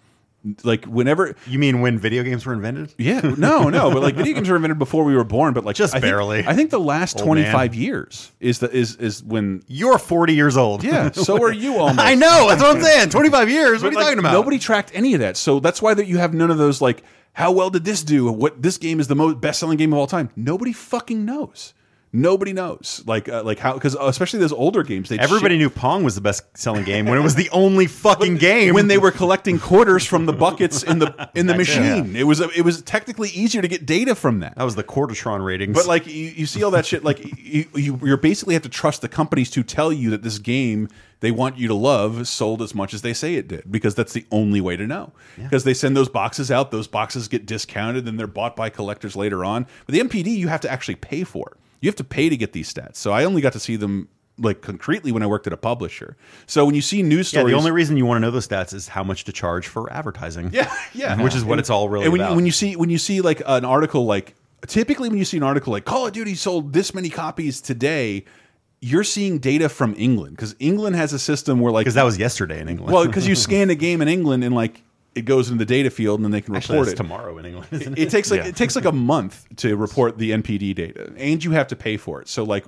A: Like whenever
B: you mean when video games were invented?
A: Yeah, no, no, but like video games were invented before we were born, but like
B: Just
A: I think-
B: barely.
A: I think the last
B: Old man.
A: twenty five years is the is is when.
B: You're 40 years old.
A: Yeah, so are you almost.
B: I know. That's what I'm saying. 25 years.
A: But,
B: What are you
A: like,
B: talking about?
A: Nobody tracked any of that, so that's why that you have none of those like how well did this do? What this game is the most best selling game of all time? Nobody fucking knows. Nobody knows. Like uh, like how because especially those older games, they
B: Everybody knew Pong was the best selling game when it was the only fucking game.
A: when they were collecting quarters from the buckets in the in the machine. It was it was technically easier to get data from that.
B: that was the Quartertron ratings.
A: But like you, you see all that shit, like you, you you basically have to trust the companies to tell you that this game they want you to love sold as much as they say it did because that's the only way to know. Because they send those boxes out, those boxes get discounted, then they're bought by collectors later on. But the MPD you have to actually pay for. You have to pay to get these stats. So I only got to see them like concretely when I worked at a publisher. So when you see news
B: yeah,
A: stories,
B: the only reason you want to know those stats is how much to charge for advertising.
A: yeah, yeah,
B: Which is what it's all really
A: and when
B: about.
A: You, when you see when you see like an article like typically when you see an article like Call of Duty sold this many copies today, you're seeing data from England because England has a system where like
B: because that was yesterday in England.
A: well because you scan a game in England and like it goes into the data field and then they can
B: actually,
A: report
B: that's
A: it.
B: tomorrow in England. Isn't it?
A: It takes like it takes like a month to report the NPD data, and you have to pay for it. So like.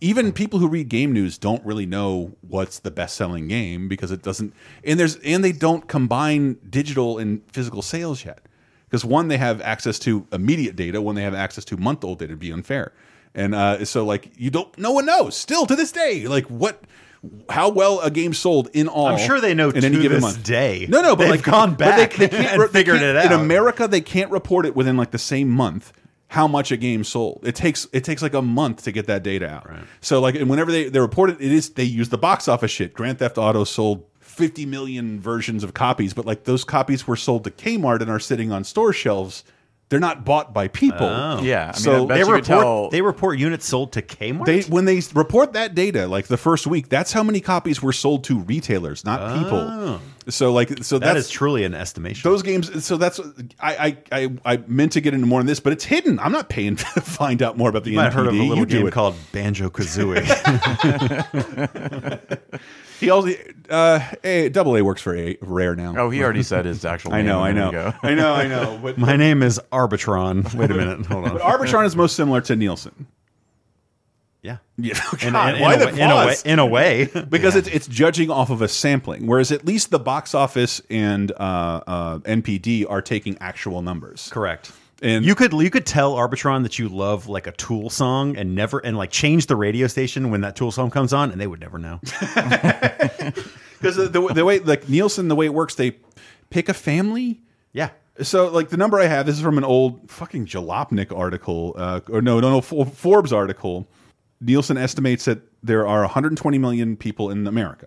A: Even people who read game news don't really know what's the best-selling game because it doesn't, and there's and they don't combine digital and physical sales yet, because one they have access to immediate data, one they have access to month-old data. It'd be unfair, and uh, so like you don't, no one knows still to this day, like what, how well a game sold in all.
B: I'm sure they know
A: in any
B: to
A: given
B: this
A: month.
B: day.
A: No, no, but
B: They've
A: like
B: gone
A: but they-
B: back
A: they can't
B: and
A: re- they
B: figured
A: can't-
B: it
A: in
B: out.
A: America. America, they can't report it within like the same month how much a game sold. It takes it takes like a month to get that data out. So like, and whenever they they report it, it is they use the box office shit. Grand Theft Auto sold. 50 million versions of copies, but like those copies were sold to Kmart and are sitting on store shelves. They're not bought by people.
B: Oh.
C: Yeah, I mean,
A: so
C: I bet
B: they
C: you could
B: report
C: tell-
B: they report units sold to Kmart.
A: they when they report that data, like the first week, that's how many copies were sold to retailers, not people. So like so
B: Oh. That
A: that's
B: is truly an estimation.
A: those games. So that's I I I, I meant to get into more on this, but it's hidden. I'm not paying to find out more about the
B: you might have heard of a
A: NPD.
B: little
A: you do
B: game
A: it.
B: called Banjo Kazooie.
A: He also uh, a double A works for a, Rare now.
C: Oh, he already said his actual
A: I
C: name
A: know,
C: a
A: I
C: minute
A: know,
C: ago.
A: I know, I know. But,
B: My name is Arbitron. Wait a minute, hold
A: but
B: on.
A: Arbitron is most similar to Nielsen.
B: yeah,
A: Yeah, God,
B: in, in,
A: why
B: in,
A: the
B: a, way- in a way,
A: pause?
B: in a way,
A: because it's it's judging off of a sampling, whereas at least the box office and uh, uh, NPD are taking actual numbers.
B: correct.
A: And
B: you could you could tell Arbitron that you love like a Tool song and never and like change the radio station when that Tool song comes on and they would never know.
A: because the, the, the way like Nielsen, the way it works, they pick a family.
B: Yeah,
A: So like the number I have, this is from an old fucking Jalopnik article, uh, or no, no, no, For- Forbes article. Nielsen estimates that there are 120 million people in America,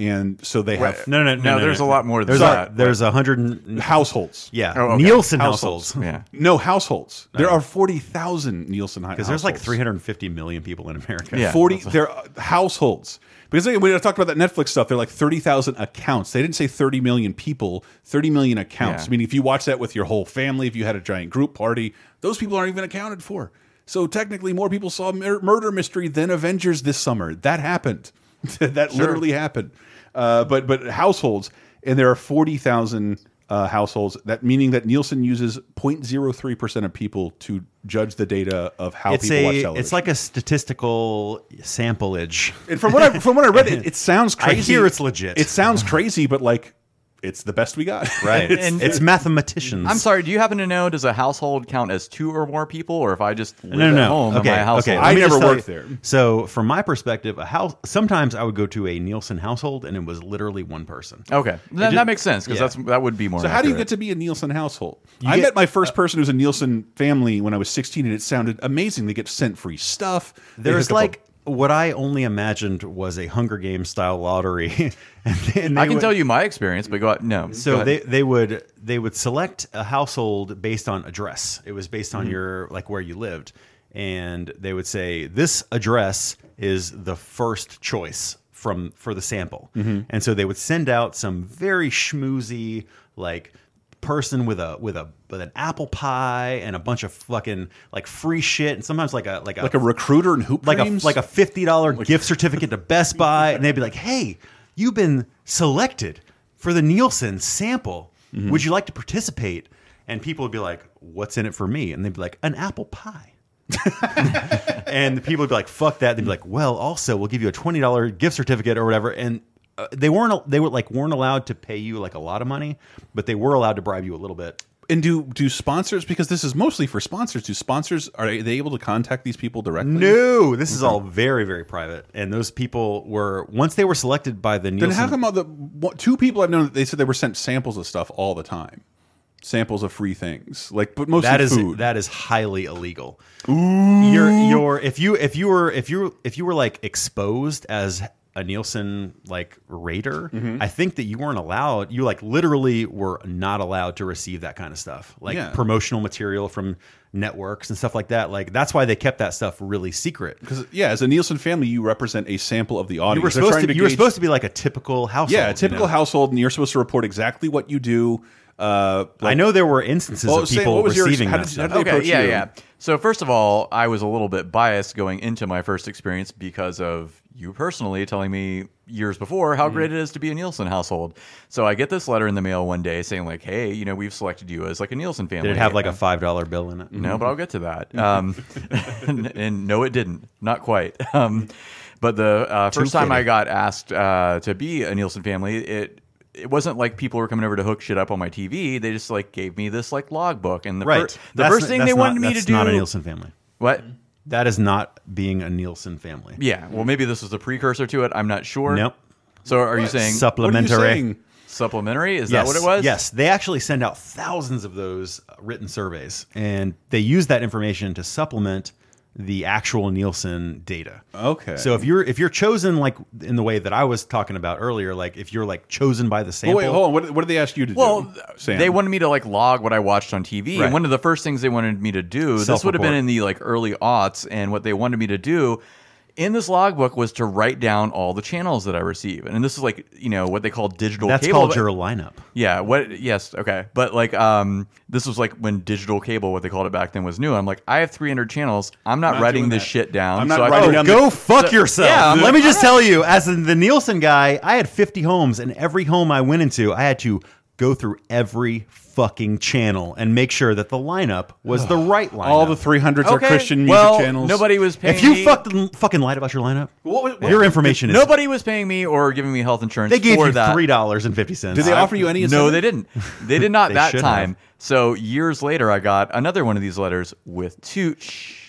A: and so they have
B: no, no, no.
C: No,
B: no,
C: there's
B: no.
C: a lot more than
B: There's
C: that.
B: a, there's a hundred and
A: households.
B: yeah
C: Oh, okay.
B: Nielsen
A: Households.
B: households.
C: Yeah.
A: No households. There are 40,000 Nielsen
B: Because
A: households.
B: there's like 350 million people in America.
C: Yeah.
A: 40 their uh, households because they, when I talked about that Netflix stuff, they're like thirty thousand accounts. They didn't say thirty million people, thirty million accounts.
C: Yeah.
A: I mean, if you watch that with your whole family, if you had a giant group party, those people aren't even accounted for. So technically, more people saw Mur- Murder Mystery than Avengers this summer. That happened. that literally happened. Uh, but but households, and there are forty thousand. Uh, households that meaning that Nielsen uses 0.03 percent of people to judge the data of how
B: It's
A: people watch
B: a
A: television.
B: it's like a statistical samplage.
A: And from what I from what I read, it, it sounds
B: I
A: crazy.
B: hear it's legit.
A: It sounds crazy, but like it's the best we got.
B: Right.
A: It's-
C: And-
B: it's mathematicians.
C: I'm sorry. Do you happen to know? Does a household count as two or more people, or if I just live
B: No, no,
C: at
B: no.
C: home
B: okay,
C: in my household?
B: okay.
A: I
B: Let me
A: never
B: just tell
A: worked
B: you-
A: there.
B: So, from my perspective, a house. Sometimes I would go to a Nielsen household, and it was literally one person.
C: Okay, that, that makes sense because
B: yeah.
C: that's that would be more.
A: so how do you get
C: accurate.
A: to be a Nielsen household? I
B: get-
A: met my first person who's a Nielsen family when I was 16, and it sounded amazing. They get sent free stuff. They hook
B: There's
A: up a-
B: like what I only imagined was a Hunger Games style lottery. and they- and they
C: I can
B: would-
C: tell you my experience, but go out. No. Mm-hmm. go
B: So
C: ahead.
B: they, they would they would select a household based on address. It was based on your like where you lived, and they would say this address is the first choice from for the sample. And so they would send out some very schmoozy like person with a with a with an apple pie and a bunch of fucking like free shit and sometimes like a like a
A: like a recruiter in hoop
B: like
A: dreams?
B: a like a fifty dollar
A: Oh
B: gift certificate to Best Buy, and they'd be like, "Hey, you've been selected for the Nielsen sample.
A: Mm-hmm.
B: Would you like to participate?" And people would be like, "What's in it for me?" And they'd be like, "An apple pie." and the people would be like, "Fuck that!" They'd be like, "Well, also, we'll give you a twenty dollar gift certificate or whatever." And uh, they weren't al- they were like weren't allowed to pay you like a lot of money, but they were allowed to bribe you a little bit.
A: and do do sponsors because this is mostly for sponsors. Do sponsors are they able to contact these people directly?
B: No, this is all very, very private. And those people were once they were selected by the Nielsen.
A: Then how come all the what, two people I've known that they said they were sent samples of stuff all the time, samples of free things like but mostly
B: that is
A: food.
B: that is highly illegal. You're you're if you if you were if you if you were like exposed as a Nielsen like raider,
A: Mm-hmm.
B: I think that you weren't allowed. You like literally were not allowed to receive that kind of stuff, like
A: Yeah.
B: promotional material from networks and stuff like that. Like that's why they kept that stuff really secret.
A: Because yeah, as a Nielsen family, you represent a sample of the audience.
B: You were
A: They're
B: supposed
A: trying
B: to, you were
A: gauge-
B: supposed to be like a typical household.
A: yeah, a
B: you
A: typical
B: know?
A: household, and you're supposed to report exactly what you do. Uh,
B: I know there were instances
A: Well,
B: of
A: say,
B: people
A: what was your ex-
B: receiving
A: how
B: that
A: did-
B: stuff.
A: how did they
C: okay,
A: approach
C: yeah,
A: you?
C: yeah. So first of all, I was a little bit biased going into my first experience because of you personally telling me years before
B: Mm-hmm.
C: how great it is to be a Nielsen household. So I get this letter in the mail one day saying like, "Hey, you know, we've selected you as like a Nielsen family."
B: Did it have like a
C: Uh,
B: five dollar bill in it?
C: no, but I'll get to that. Um,
B: Mm-hmm.
C: and, and no, it didn't. Not quite. Um, but the uh, first time I got asked uh, to be a Nielsen family, it it wasn't like people were coming over to hook shit up on my TV. They just like gave me this like logbook, and the, fir-
B: Right.
C: the
B: That's-
C: first thing
B: that's
C: they
B: not-
C: wanted me to
B: that's
C: do
B: Not a Nielsen family.
C: what?
B: That is not being a Nielsen family.
C: Yeah. Well, maybe this was the precursor to it. I'm not sure.
B: Nope.
C: So are you saying
A: what are you
B: Supplementary.
A: saying?
C: supplementary? Is that
B: Yes,
C: what it was?
B: Yes, they actually send out thousands of those uh, written surveys, and they use that information to supplement the actual Nielsen data.
A: Okay.
B: So if you're if you're chosen like in the way that I was talking about earlier, like if you're like chosen by the
A: Oh,
B: sample,
A: wait, hold on. What, what did they ask you to
C: Well,
A: do? Sam?
C: they wanted me to like log what I watched on TV.
B: Right.
C: And one of the first things they wanted me to do, this would have
B: Self-report.
C: been in the like early aughts, and what they wanted me to do in this logbook was to write down all the channels that I receive, and this is like you know what they call digital.
B: That's
C: cable,
B: called
C: but-
B: your lineup.
C: Yeah. What? Yes. Okay. But like, um, this was like when digital cable, what they called it back then, was new. I'm like, I have 300 channels. I'm not,
A: Not
C: writing
A: doing
C: this
A: that.
C: shit down.
A: I'm not
C: I-
A: writing down the-
B: Go fuck yourself.
C: Yeah, I'm
B: Let me just tell you, as in the Nielsen guy, I had 50 homes, and every home I went into, I had to go through every fucking channel and make sure that the lineup was the right lineup.
A: All the 300s are
C: Okay,
A: Christian music
C: well,
A: channels.
C: Nobody was paying.
B: If you
C: me,
B: fucking fucking lied about your lineup,
A: What was- what-
B: your information is
C: nobody was paying me or giving me health insurance.
B: They gave
C: for
B: you
C: that.
B: three dollars and fifty cents.
A: Did they offer you any?
C: No,
A: incentive?
C: they didn't. They did not
B: They
C: that
B: should
C: time.
B: have.
C: So years later, I got another one of these letters with two. Shh,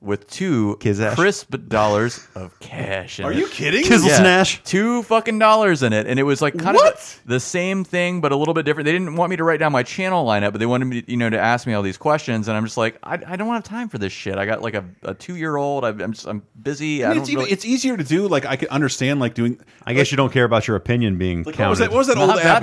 C: with two
B: Kizash.
C: crisp dollars of cash. In
A: Are
C: it.
A: you kidding?
B: Kizzle
C: Yeah.
B: Snash?
C: Two fucking dollars in it. And it was like kind
A: What?
C: of the same thing, but a little bit different. They didn't want me to write down my channel lineup, but they wanted me, you know, to ask me all these questions. And I'm just like, I, I don't have time for this shit. I got like a, a two year old. I'm just, I'm busy.
A: I
C: I,
A: mean,
C: don't
A: it's,
C: really,
A: even, it's easier to do. Like I can understand, like doing.
B: I guess you don't care about your opinion being
A: Like, what was that?
B: counted.
A: What was that
C: Not
A: old
C: that
A: app?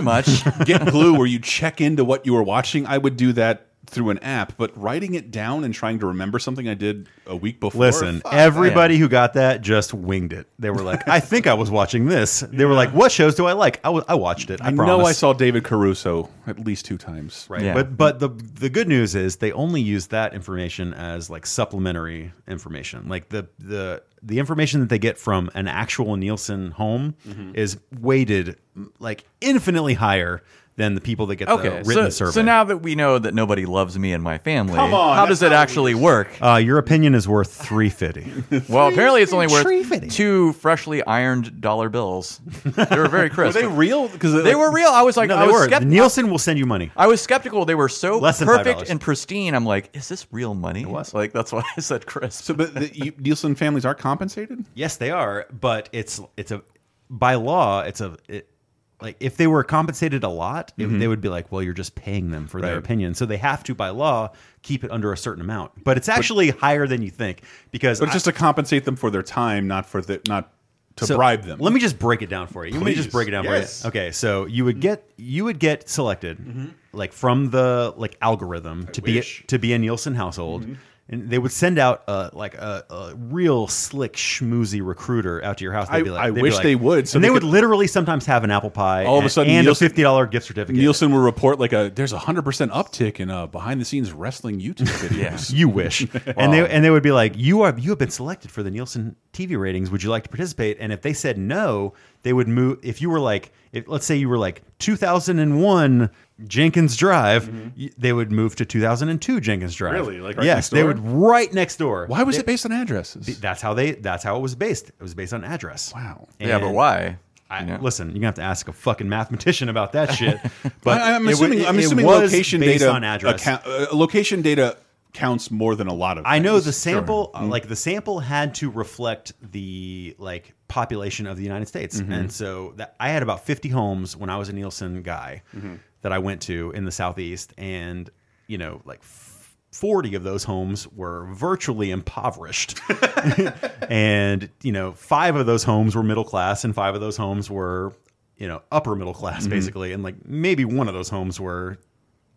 C: much.
A: Get Blue, where you check into what you were watching. I would do that through an app, but writing it down and trying to remember something I did a week before.
B: Listen,
A: fuck.
B: everybody who got that just winged it. They were like, "I think I was watching this." They were like, "What shows do I like?" I wa- I watched it. I,
A: I know I saw David Caruso at least two times.
B: Right.
C: Yeah.
B: But but the the good news is they only use that information as like supplementary information. Like the the the information that they get from an actual Nielsen home
C: Mm-hmm.
B: is weighted like infinitely higher than the people that get
C: Okay,
B: the written
C: so,
B: survey.
C: so now that we know that nobody loves me and my family,
A: Come on,
C: how
A: that's
C: does it
A: not what
C: actually work?
B: uh, your opinion is worth three fifty.
C: Well, apparently it's only
B: tree
C: worth
B: fitting.
C: two freshly ironed dollar bills. They were very
A: Were
C: crisp.
A: they real? Because
C: They were real. I was like,
B: no,
C: I
B: they
C: was
B: were.
C: skept-
B: Nielsen will send you money.
C: I was skeptical. They were so
B: Less than
C: perfect
B: $5.
C: and pristine. I'm like, is this real money? It was. Like that's why I said crisp.
A: So, but the, you, Nielsen families are compensated.
B: Yes, they are, but it's it's a by law it's a it, like if they were compensated a lot, it- they would be like, well, you're just paying them for their
A: Mm-hmm. Right.
B: opinion, so they have to by law keep it under a certain amount. But it's actually higher than you think because
A: But
B: I-
A: it's just to compensate them for their time, not for the not to
B: so
A: bribe them.
B: Let me just break it down for you. Let me just
A: Please.
B: break it down
A: Yes. Mm-hmm.
B: for you. Okay, so you would get you would get selected like from the like algorithm to be
A: wish. Mm-hmm.
B: to be a Nielsen household. And they would send out a, like a, a real slick schmoozy recruiter out to your house. They'd
A: I-
B: be like,
A: I
B: they'd be
A: wish
B: like-
A: they would, so
B: and they,
A: they
B: would
A: could-
B: literally sometimes have an apple pie.
A: All of a
B: and-
A: sudden
B: and
A: Nielsen-
B: a fifty dollar gift certificate.
A: Nielsen will report like a there's a hundred percent uptick in uh, behind the scenes wrestling YouTube videos.
B: You wish, and they and they would be like, "You are you have been selected for the Nielsen TV ratings. Would you like to participate?" And if they said no, they would move. If you were like, if, let's say you were like 2001 Jenkins Drive, y- they would move to 2002 Jenkins Drive.
A: Mm-hmm. Really? Like right
B: yes,
A: next
B: they
A: door?
B: would right next door.
A: Why was
B: They-
A: it based on addresses?
B: That's how they. That's how it was based. It was based on address.
A: Wow.
C: yeah, but
B: And
C: why?
B: I,
C: You know?
B: Listen, you're gonna have to ask a fucking mathematician about that shit. But
A: I, am
B: it wa-
A: assuming. I'm
B: it
A: assuming
B: was
A: location
B: based
A: data
B: on address.
A: account- uh, location data counts more than a lot of.
B: I know
A: things. Mm-hmm.
B: the sample, uh, like the sample, had to reflect the like population of the United States,
A: Mm-hmm.
B: and so that I had about fifty homes when I was a Nielsen guy
A: Mm-hmm.
B: that I went to in the southeast, and you know, like f- forty of those homes were virtually impoverished, and you know, five of those homes were middle class, and five of those homes were you know upper middle class basically, and like maybe one of those homes were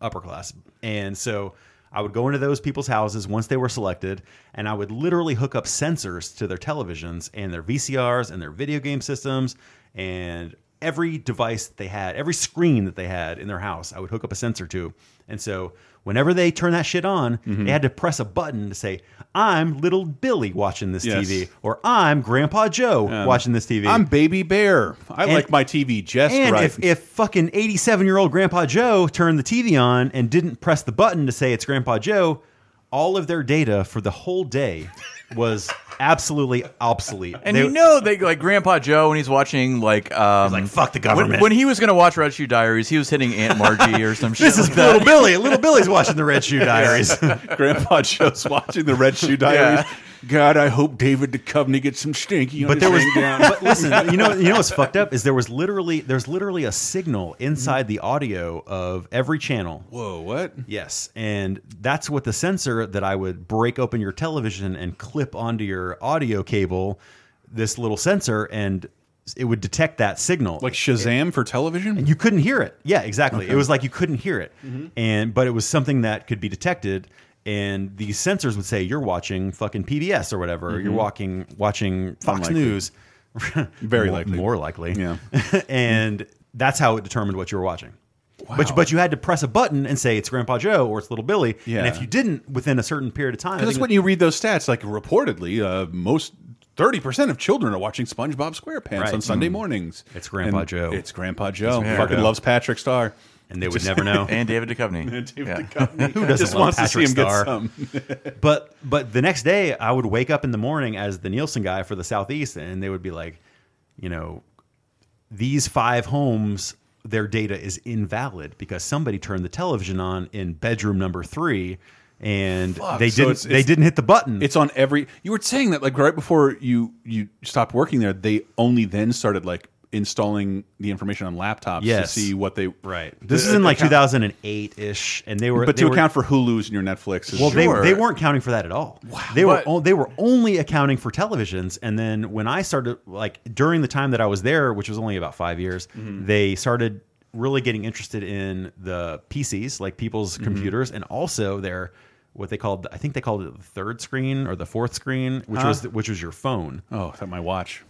B: upper class. And so I would go into those people's houses once they were selected, and I would literally hook up sensors to their televisions and their VCRs and their video game systems and every device that they had, every screen that they had in their house, I would hook up a sensor to. And so whenever they turned that shit on, they had to press a button to say, I'm little Billy watching this
A: Yes.
B: TV, or I'm Grandpa Joe watching this TV.
A: I'm Baby Bear. I like my TV just
B: And
A: right.
B: if, if fucking 87 year old Grandpa Joe turned the TV on and didn't press the button to say it's Grandpa Joe, all of their data for the whole day was absolutely obsolete.
C: And
B: They-
C: you know, they like Grandpa Joe when he's watching like um,
B: like, fuck the
C: when,
B: government.
C: when he was gonna watch Red Shoe Diaries, he was hitting Aunt Margie or some shit.
B: this is
C: like that.
B: little Billy. Little Billy's watching the Red Shoe Diaries.
A: Grandpa Joe's watching the Red Shoe Diaries. God, I hope David Duchovny gets some stinky.
B: but there was
A: down.
B: but listen you know you know what's fucked up is there was literally there's literally a signal inside the audio of every channel
A: Whoa, what?
B: Yes, and that's what the sensor that I would break open your television and clip onto your audio cable, this little sensor, and it would detect that signal.
A: Like Shazam for television?
B: you
A: Mm-hmm.
B: couldn't hear it. Yeah, exactly. It was like you couldn't hear it, and but it was something that could be detected. and these sensors would say you're watching fucking PBS or whatever. You're walking watching Fox
A: Mm-hmm. Unlikely.
B: News.
A: Very
B: more,
A: likely.
B: more likely.
A: Yeah.
B: and that's how it determined what you were watching. But but you had to press a button and say it's Grandpa Joe or it's Little Billy.
A: Yeah.
B: And if you didn't within a certain period of time, I
A: Because that's
B: think-
A: when you read those stats. Like reportedly, uh, most thirty percent of children are watching SpongeBob SquarePants
B: Right. Hmm.
A: on Sunday mornings.
B: It's Grandpa
A: And
B: Joe.
A: It's Grandpa Joe.
C: Grandpa
A: Fucking
B: Joe.
A: loves Patrick Star.
B: and they would never know.
C: and David Duchovny. Yeah.
A: Who
B: doesn't
A: just
B: love
A: wants
B: Patrick
A: to see him get
B: Starr?
A: some?
B: but but the next day I would wake up in the morning as the Nielsen guy for the Southeast, and they would be like, you know, these five homes, their data is invalid because somebody turned the television on in bedroom number three, and
A: Fuck,
B: they
A: so
B: didn't
A: it's-
B: they
A: it's-
B: didn't hit the button.
A: It's on every. You were saying that like right before you you stopped working there, they only then started like installing the information on laptops
B: Yes.
A: to see what they
B: right. This is in like
A: account-
B: 2008 ish, and they were
A: But
B: they
A: to
B: were-
A: account for Hulu's and your Netflix,
B: Well,
C: Sure.
B: they, they weren't counting for that at all. They were
C: But-
B: o- they were only accounting for televisions. And then when I started, like during the time that I was there, which was only about five years,
C: Mm-hmm.
B: they started really getting interested in the PCs, like people's
C: Mm-hmm.
B: computers, and also their what they called I think they called it the third screen or the fourth screen, which was which was your phone.
A: oh, that my watch.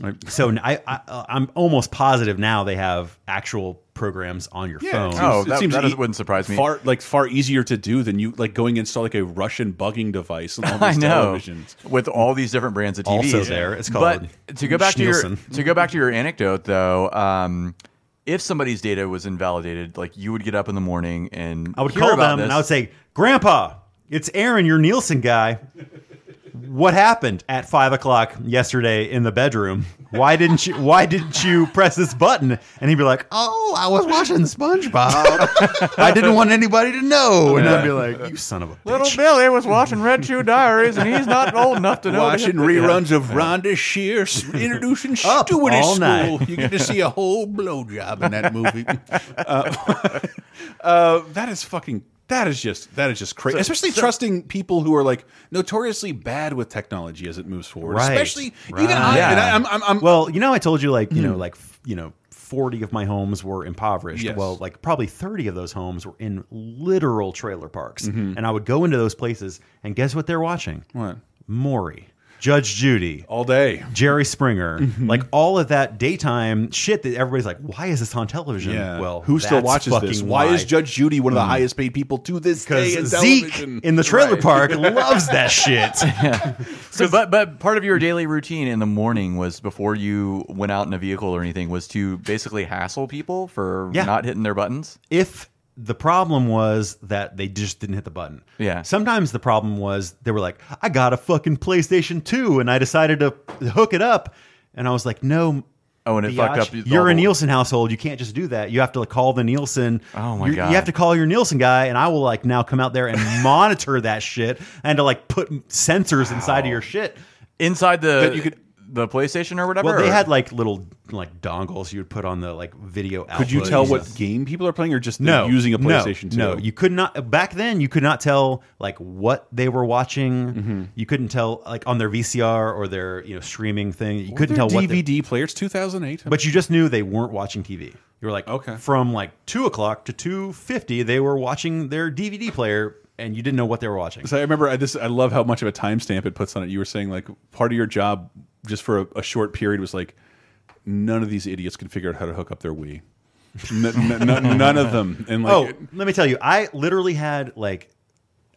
A: I-
B: So n- I, I I'm almost positive now they have actual programs on your phone.
C: seems- Oh, that-
B: e-,
C: that wouldn't surprise me.
A: Far like far easier to do than you like going and install like a Russian bugging device on all
C: I
A: these
C: know.
A: televisions.
C: With all these different brands of TVs,
B: Also there, it's called
C: But to go back to your
B: Schnielsen.
C: to go back to your anecdote though, um, if somebody's data was invalidated, like you would get up in the morning and
B: I would
C: hear
B: call
C: about
B: them
C: this.
B: and I would say, Grandpa, it's Aaron, your Nielsen guy. What happened at five o'clock yesterday in the bedroom? Why didn't you? Why didn't you press this button? And he'd be like, "Oh, I was watching SpongeBob. I didn't want anybody to know." And I'd be like, "You son of a bitch."
C: Little Billy was watching Red Shoe Diaries, and he's not old enough to know. to hit
A: Watching
C: the-
A: reruns of Rhonda Shear introducing
B: Up
A: stewardess
B: all
A: school.
B: night.
A: You get to see a whole blowjob in that movie. Uh, uh, that is fucking. That is just that is just crazy. Especially trusting people who are like notoriously bad with technology as it moves forward.
B: Right.
A: Especially
B: Right.
A: even I.
C: Yeah.
A: And I am I'm, I'm,
B: Well, you know, I told you like you know like f- you know. 40 of my homes were impoverished.
A: Yes.
B: Well, like probably 30 of those homes were in literal trailer parks. And I would go into those places and guess what they're watching?
A: Mm-hmm. What? Oh.
B: Maury, Judge Judy,
A: all day.
B: Jerry Springer,
A: Mm-hmm.
B: like all of that daytime shit that everybody's like, why is this on television?
A: Yeah.
B: Well,
A: who still
B: that's
A: watches this?
B: fucking
A: Why, is Judge Judy one of the highest paid people to this day in
B: because Zeke
A: television?
B: in the trailer park loves that shit.
C: So, but but part of your daily routine in the morning was before you went out in a vehicle or anything was to basically hassle people for
B: Yeah.
C: not hitting their buttons.
B: if the problem was that they just didn't hit the button.
C: Yeah.
B: Sometimes the problem was they were like, I got a fucking PlayStation 2 and I decided to hook it up. And I was like, no.
C: Oh, and it fucked up
B: biatch,
C: the
B: You're a
C: whole-
B: Nielsen household. You can't just do that. You have to call the Nielsen.
C: Oh, my
B: you
C: God.
B: You have to call your Nielsen guy, and I will like now come out there and monitor that shit and to like put sensors inside of your shit.
C: Inside the
A: That you could-
C: the PlayStation or whatever.
B: Well, they
C: or-
B: had like little like dongles you would put on the like video.
A: Could you
B: output
A: tell
B: and
A: what
B: stuff
A: game people are playing, or just
B: no
A: using a
B: no,
A: PlayStation? 2?
B: No, you could not back then. You could not tell like what they were watching.
A: Mm-hmm.
B: You couldn't tell like on their VCR or their you know streaming thing. You couldn't tell
A: Their
B: what.
A: DVD
B: They,
A: player. It's 2008.
B: but you just knew they weren't watching TV. You were like,
A: Okay.
B: from like two o'clock to two fifty, they were watching their DVD player, and you didn't know what they were watching.
A: so I remember I, this. I love how much of a timestamp it puts on it. You were saying like part of your job, just for a, a short period, was like none of these idiots can figure out how to hook up their Wii. N- n- n- none of them. And like,
B: oh, let me tell you, I literally had like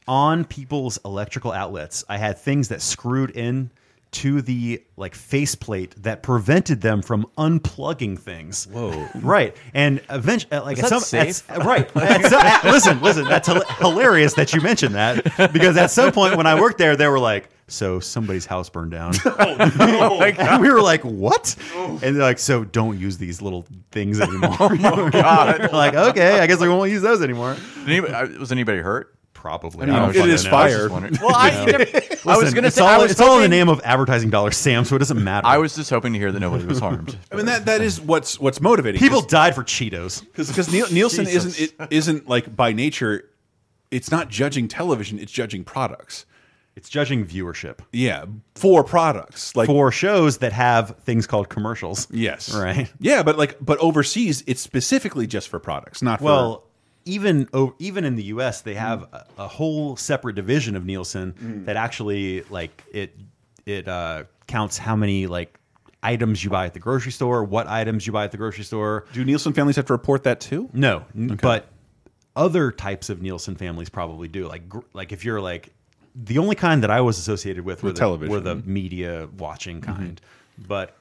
B: on people's electrical outlets, I had things that screwed in to the like faceplate that prevented them from unplugging things. Whoa! Right, and eventually, like
C: Is that
B: at some at-
C: safe?
B: right. At so- at- listen, listen. That's hila- hilarious that you mentioned that because at some point when I worked there, they were like. So somebody's house burned down.
C: Oh,
B: and we were like, "What?" And they're like, "So don't use these little things anymore."
C: Oh,
B: We're like, okay, I guess we won't use those anymore.
C: Did anybody-
B: uh,
C: I- was anybody hurt?
B: Probably.
A: I mean,
B: I don't
A: it
B: fucking
A: is
B: know.
A: fire.
C: Well, I, I was
B: Listen,
C: going to
B: it's
C: say
B: all,
C: I was
B: it's all in the
C: hoping-
B: name of advertising dollars, Sam. So it doesn't matter.
C: I was just hoping to hear that nobody was harmed.
A: I mean that that is what's what's motivating
B: people died for Cheetos.
A: because Nielsen
C: Jesus.
A: isn't it isn't like by nature. It's not judging television. It's judging products.
B: It's judging viewership
A: Yeah, for products like
B: for shows that have things called commercials.
A: Yes.
B: Right.
A: Yeah, but like, but overseas, it's specifically just for products, not
B: Well, even o- even in the U.S., they have a, a whole separate division of Nielsen
C: Mm.
B: that actually like it it uh, counts how many like items you buy at the grocery store, what items you buy at the grocery store.
A: Do Nielsen families have to report that too?
B: No, n- but other types of Nielsen families probably do. Like gr- like if you're like the only kind that I was associated with were
A: With
B: the,
A: television. Mm-hmm.
B: were the media watching kind, but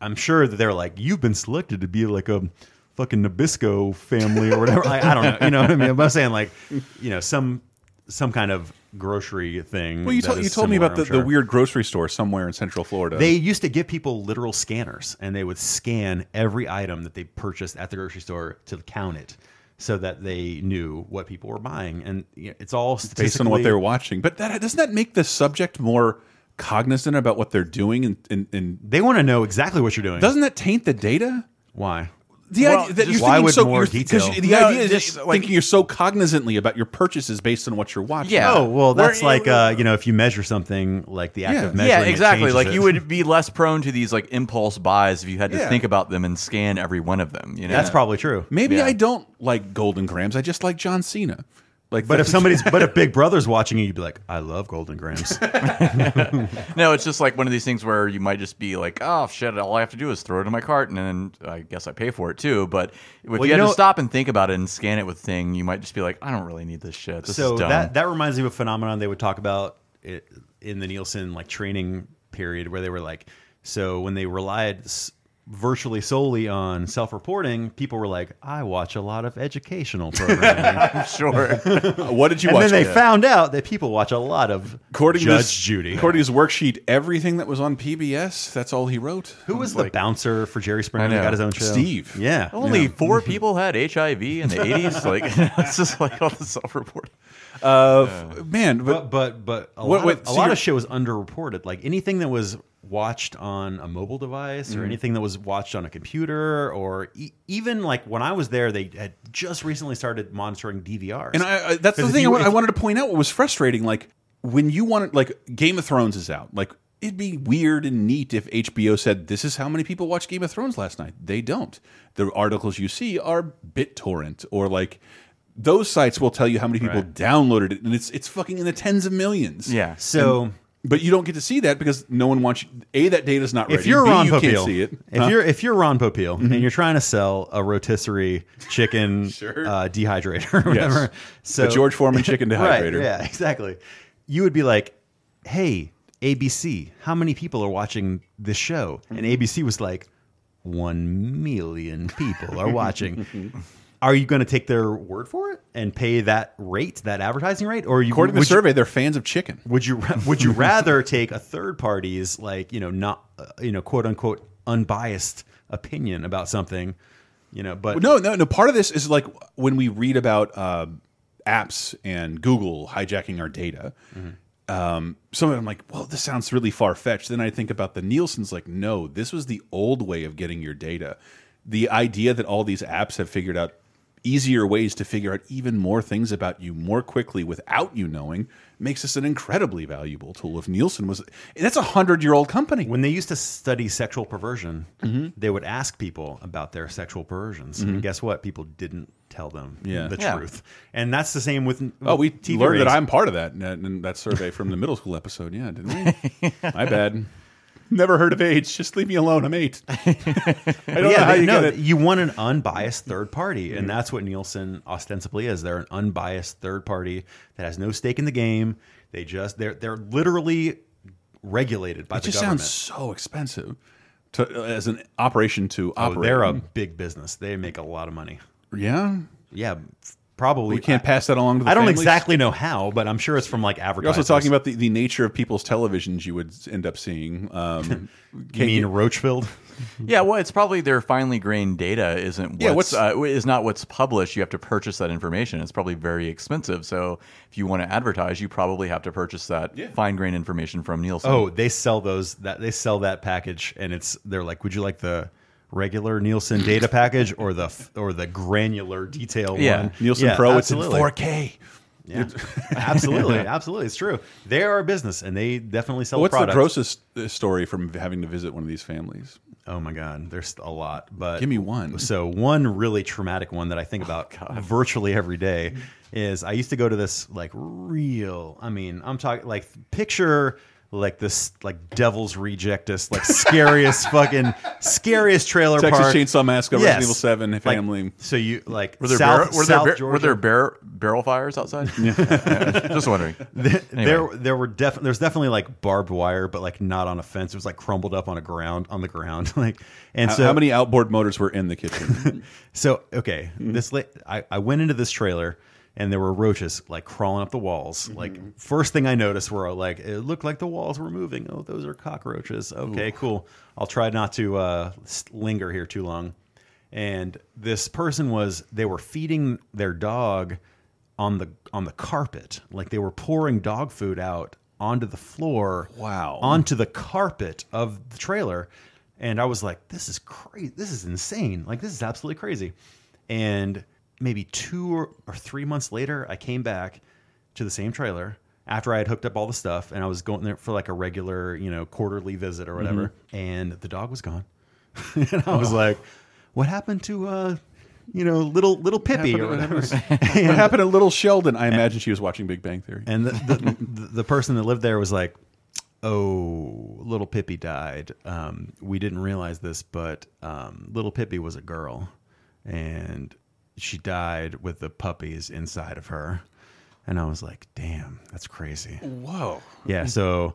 B: I'm sure that they're like you've been selected to be like a fucking Nabisco family or whatever. I, I don't know. You know what I mean? I'm not saying like you know some some kind of grocery thing.
A: Well, you,
B: that
A: told
B: is
A: you told me
B: similar,
A: about the,
B: I'm sure.
A: the weird grocery store somewhere in Central Florida.
B: They used to give people literal scanners, and they would scan every item that they purchased at the grocery store to count it, so that they knew what people were buying. And you know, it's all
A: based on what
B: statistically-
A: they were watching. But that doesn't that make the subject more cognizant about what they're doing? And, and, and
B: They want to know exactly what you're doing.
A: doesn't that taint the data?
B: why?
A: The
C: Well,
A: idea that
C: just
A: you're
B: why
A: thinking
B: would
A: so
B: more
A: you're- 'cause
B: detail?
A: The
C: No,
A: idea is
C: just,
A: just
C: like-
A: thinking you're so cognizantly about your purchases based on what you're watching.
C: Yeah.
B: Oh well,
C: Where-
B: that's like uh, you know, if you measure something, like the act
A: Yeah.
B: of
A: Yeah,
B: measuring.
C: yeah,
B: it
C: exactly.
B: changes
C: Like
B: it.
C: you would be less prone to these like impulse buys if you had to
A: Yeah.
C: think about them and scan every one of them. You know,
B: That's probably true.
A: Maybe
C: Yeah.
A: I don't like Golden Grams. I just like John Cena. Like,
B: But if
A: that's-
B: somebody's, but if Big Brother's watching you, you'd be like, "I love Golden Grams."
C: no. It's just like one of these things where you might just be like, oh shit, all I have to do is throw it in my cart, and then I guess I pay for it too. But if you,
B: you
C: had
B: know-
C: to stop and think about it and scan it with thing, you might just be like, I don't really need this shit. This
B: so
C: is dumb.
B: that that reminds me of a phenomenon they would talk about i- in the Nielsen like training period where they were like, so when they relied s- virtually solely on self-reporting, people were like, I watch a lot of educational programming,
C: sure.
A: what did you
B: and
A: watch?
B: then they
A: Yeah.
B: found out that people watch a lot of
A: according to
B: Judge
A: this-
B: Judy.
A: According to his worksheet, everything that was on PBS, that's all he wrote.
B: who was the bouncer for Jerry Springer?
C: I
B: that
C: know.
B: got his own show.
A: Steve.
B: Yeah.
C: Only
B: Yeah.
C: four people had HIV in the eighties. Like it's just like all the self-reporting.
A: Uh, man, but,
B: But but but a
A: Wait,
B: lot,
A: wait,
B: of, a
A: so
B: lot
A: you're-
B: of shit was underreported. Like anything that was watched on a mobile device,
A: Mm-hmm.
B: or anything that was watched on a computer, or e even like when I was there, they had just recently started monitoring DVRs.
A: and I, I, that's the
B: 'Cause if
A: thing I
B: you-
A: wa- I
B: if-
A: wanted to point out. What was frustrating, like when you wanted, like Game of Thrones is out, like. It'd be weird and neat if HBO said, "This is how many people watched Game of Thrones last night." They don't. The articles you see are BitTorrent or like those sites will tell you how many people downloaded it, and it's it's fucking in the tens of millions.
C: Yeah.
B: so.
A: but you don't get to see that because no one wants. You, a that data's not ready.
B: if you're
A: B,
B: Ron
A: you
B: Popeil,
A: can't see it. Mm-hmm.
B: if you're if you're Ron Popeil and you're trying to sell a rotisserie chicken
A: Sure.
B: uh, dehydrator, or
A: Yes.
B: whatever, so
A: the George Foreman chicken dehydrator.
B: Right, yeah, exactly. You would be like, hey, ABC, how many people are watching this show? And
A: Mm-hmm.
B: ABC was like, one million people are watching. Are you going to take their word for it and pay that rate, that advertising rate, or you
A: According to the
B: would you-
A: survey, they're fans of chicken.
B: would you ra- would you rather take a third party's like you know not uh, you know quote unquote unbiased opinion about something, you know? But
A: No, no, no. Part of this is like when we read about uh, apps and Google hijacking our data. Um, some of them like, well, this sounds really far fetched. Then I think about the Nielsen's. Like, no, this was the old way of getting your data. The idea that all these apps have figured out easier ways to figure out even more things about you more quickly without you knowing makes this an incredibly valuable tool. If Nielsen was, and that's a hundred year old company.
B: when they used to study sexual perversion,
A: Mm-hmm.
B: they would ask people about their sexual perversions. And guess what? People didn't tell them
A: Yeah.
B: the
C: Yeah.
B: truth. And that's the same with
A: Oh, we
B: TV
A: learned that
B: ratings.
A: I'm part of that in that survey from the middle school episode. Yeah, didn't we? My bad. Never heard of AIDS. Just leave me alone. I'm eight. I don't know
B: yeah,
A: how
B: they-
A: you
B: no,
A: get it. Mm-hmm.
B: you want an unbiased third party, and that's what Nielsen ostensibly is. They're an unbiased third party that has no stake in the game. They just they're they're literally regulated by
A: It
B: the
A: just
B: government.
A: sounds so expensive to, as an operation to
B: Oh,
A: operate.
B: they're a big business. They make a lot of money.
A: yeah.
B: Yeah, probably.
A: We can't pass that along to the
B: I don't
A: families.
B: exactly know how, but I'm sure it's from like
A: You're
B: advertising.
A: also talking about the, the nature of people's televisions you would end up seeing. Um,
B: You mean Roachfield?
C: Yeah, well, it's probably their finely grained data isn't what's,
A: Yeah,
C: uh, is not what's published. You have to purchase that information. It's probably very expensive. So if you want to advertise, you probably have to purchase that fine grained information from Nielsen.
B: Oh, they sell those. That they sell that package, and it's they're like, would you like the regular Nielsen data package or the f- or the granular detail
C: Yeah.
B: one?
A: Nielsen
B: Yeah,
A: Pro,
B: absolutely.
A: it's in 4K.
B: Yeah. absolutely, absolutely, it's true. They are a business, and they definitely sell.
A: What's
B: products.
A: the grossest uh, story from having to visit one of these families?
B: Oh my God, there's a lot. But
A: Give me one.
B: So one really traumatic one that I think about virtually every day is I used to go to this like real. I mean, I'm talking like picture like this like devil's rejectest like scariest fucking scariest trailer
A: Texas
B: park.
A: Chainsaw Massacre,
B: Yes.
A: Resident Evil 7,
B: Like,
A: Family.
B: so you like
C: Were there,
B: South,
C: barrel, were,
B: South
C: there, bar-
B: Georgia.
C: were there bar- barrel fires outside? Yeah, Just wondering.
B: There, there were def- there's definitely like barbed wire, but like not on a fence. It was like crumbled up on a ground on the ground, like. And
A: How,
B: so
A: how many outboard motors were in the kitchen?
B: So okay, this la- I, I went into this trailer and there were roaches like crawling up the walls. Like first thing I noticed were like it looked like the walls were moving. Oh, those are cockroaches. Okay, cool. I'll try not to uh, s- linger here too long. And this person was they were feeding their dog on the on the carpet. Like they were pouring dog food out onto the floor.
A: Wow.
B: Onto the carpet of the trailer. And I was like, this is crazy. This is insane. Like this is absolutely crazy. And maybe two or, or three months later, I came back to the same trailer after I had hooked up all the stuff and I was going there for like a regular, you know, quarterly visit or whatever. And the dog was gone. and I was like, what happened to uh you know, little little Pippi or whatever.
A: what happened to Little Sheldon? I imagine she was watching Big Bang Theory.
B: And the, the, the, the person that lived there was like, "Oh, little Pippi died. Um, we didn't realize this, but um, little Pippi was a girl, and she died with the puppies inside of her." And I was like, "Damn, that's crazy."
A: Whoa.
B: Yeah. So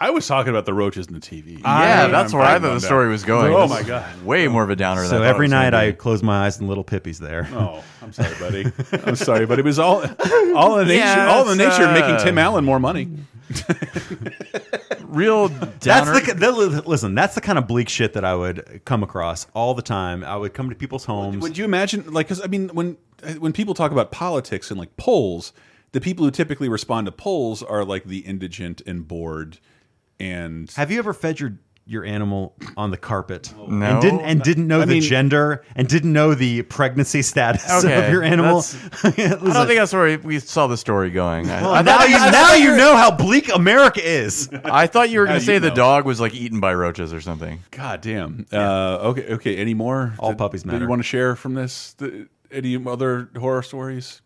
A: I was talking about the roaches in the TV.
C: yeah, that's where I thought the story was going.
A: Oh
C: This
A: my
C: is
A: God.
C: Way more of a downer. than
B: so
C: I thought it
B: every
C: was
B: night
C: gonna
B: I
C: be.
B: close my eyes and little Pippi's there.
A: Oh, I'm sorry, buddy. I'm sorry, but it was all all in the nature,
C: Yeah,
A: all in the
C: it's,
A: nature of
C: uh,
A: making Tim Allen more money.
C: real downer.
B: That's the, the listen. That's the kind of bleak shit that I would come across all the time. I would come to people's homes.
A: Would you imagine, like, because I mean, when when people talk about politics and like polls, the people who typically respond to polls are like the indigent and bored, and
B: Have you ever fed your your animal on the carpet?
C: No.
B: And didn't and didn't know
A: I
B: the
A: mean-
B: gender and didn't know the pregnancy status of
C: Okay,
B: your animal.
C: that's- I don't think that's where we saw the story going. I, I
B: now
C: thought
B: you,
C: you,
B: now you know how bleak America is.
C: I thought you were going
A: Now
C: to
A: you
C: say the
A: know.
C: dog was like eaten by roaches or something.
A: God damn. Uh, okay, okay. Any more?
B: All
A: that-
B: puppies
A: that
B: matter.
A: you want to share from this? The, any other horror stories?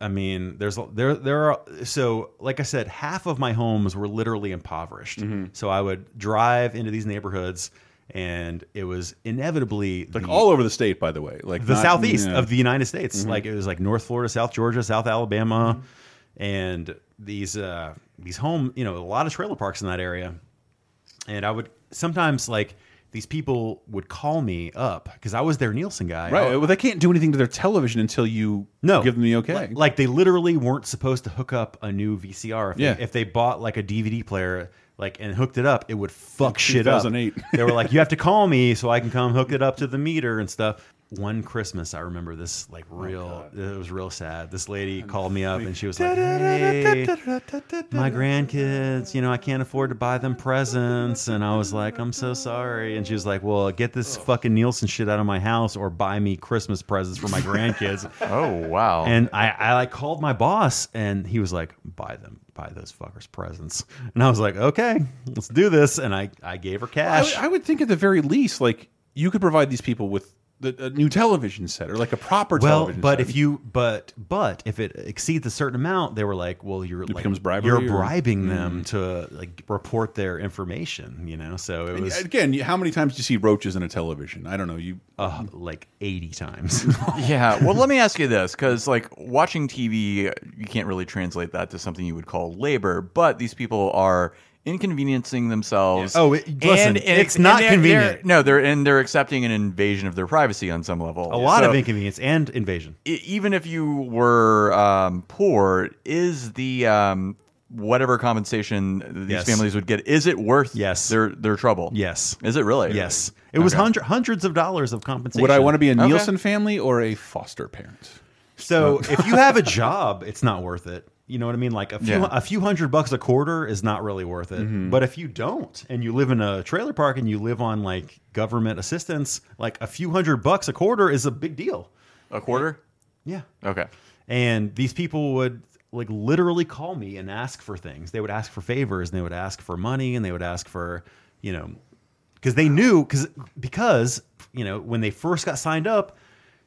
B: I mean, there's there there are so like I said, half of my homes were literally impoverished.
A: Mm-hmm.
B: So I would drive into these neighborhoods, and it was inevitably
A: Like
B: the-
A: all over the state, by the way. Like
B: the
A: not-
B: southeast
A: yeah. Mm-hmm.
B: of the United States. Like it was like North Florida, South Georgia, South Alabama,
A: Mm-hmm.
B: and these uh, these home, you know, a lot of trailer parks in that area. And I would sometimes like these people would call me up because I was their Nielsen guy.
A: Right.
B: I-
A: Well, they can't do anything to their television until you
B: no,
A: give them the okay.
B: Like, like they literally weren't supposed to hook up a new VCR. If,
A: Yeah.
B: they, if they bought like a DVD player, like and hooked it up, it would fuck shit up.
A: 2008.
B: they were like, "You have to call me so I can come hook it up to the meter and stuff." One Christmas, I remember this like
A: Oh
B: real. it was real sad. This lady called me up and she was like, "Hey, my grandkids, you know, I can't afford to buy them presents. And I was like, I'm so sorry. And she was like, Well, get this fucking Nielsen shit out of my house or buy me Christmas presents for my grandkids.
C: Oh wow!
B: and I, I like called my boss and he was like, Buy them, buy those fuckers presents. And I was like, Okay, let's do this. And I, I gave her
A: I,
B: cash.
A: would- I would think at the very least, like you could provide these people with the, a new television set or like a proper
B: well,
A: television.
B: but
A: set.
B: if you but but if it exceeds a certain amount, they were like, well, you're like,
A: becomes bribery
B: you're
A: or- mm.
B: bribing them to like report their information, you know. So it was
A: again, you- how many times do you see roaches in a television? I don't know. You
B: uh, like eighty times.
C: yeah. Well, let me ask you this, because like watching TV, you can't really translate that to something you would call labor. But these people are inconveniencing themselves.
B: Oh, it- listen, it's not
C: they're-
B: convenient.
C: they're- no, they're and they're accepting an invasion of their privacy on some level.
B: a lot
C: So
B: of inconvenience and invasion.
C: e- even if you were um, poor, is the um, whatever compensation these
B: Yes.
C: families would get is it worth
B: Yes.
C: their their trouble?
B: Yes.
C: Is it really?
B: Yes, it was
C: Okay.
B: hundred, hundreds of dollars of compensation.
A: would I want to be a
C: Okay.
A: Nielsen family or a foster parent?
B: So if you have a job, it's not worth it. You know what I mean? Like a few
C: Yeah.
B: a few hundred bucks a quarter is not really worth it. But if you don't and you live in a trailer park and you live on like government assistance, like a few hundred bucks a quarter is a big deal.
C: A quarter?
B: Yeah.
C: Okay.
B: And these people would like literally call me and ask for things. They would ask for favors and they would ask for money and they would ask for, you know, because they knew because because you know when they first got signed up,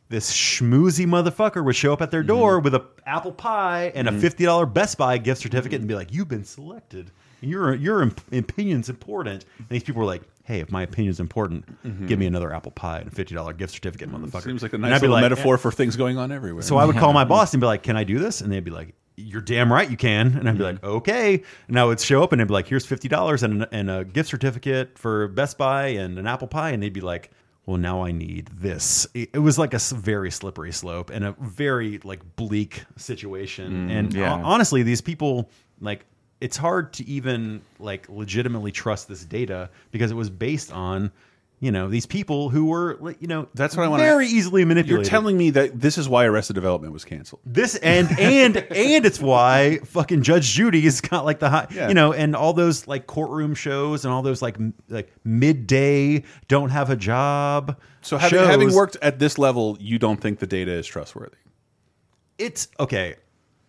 B: this schmoozy motherfucker would show up at their
A: Mm-hmm.
B: door with a apple pie and a fifty dollar Best Buy gift certificate and be like, "You've been selected. Your your imp- opinion's important." And these people were like. Hey, if my opinion's important, give me another apple pie and a fifty dollar gift certificate, motherfucker.
A: Mm-hmm. Seems like "Eh." a
B: And
A: nice
B: I'd be
A: little
B: like,
A: metaphor for things going on everywhere.
B: so I would call my boss and be like, "Can I do this?" And they'd be like, "You're damn right you can." And I'd be like, "Okay." And I would show up and they'd be like, "Here's fifty dollars and and a gift certificate for Best Buy and an apple pie." And they'd be like, "Well, now I need this." It, it was like a s- very slippery slope and a very like bleak
A: Mm,
B: situation. and
C: yeah.
B: hon- honestly, these people like. It's hard to even like legitimately trust this data because it was based on, you know, these people who were, like, you know,
A: That's what I wanna-
B: Very easily
A: You're
B: manipulated.
A: telling me that this is why Arrested Development was canceled.
B: This and and and it's why fucking Judge Judy's got like the high,
A: Yeah.
B: you know, and all those like courtroom shows and all those like m- like midday don't have a job.
A: So having,
B: shows.
A: having worked at this level, you don't think the data is trustworthy.
B: it's okay.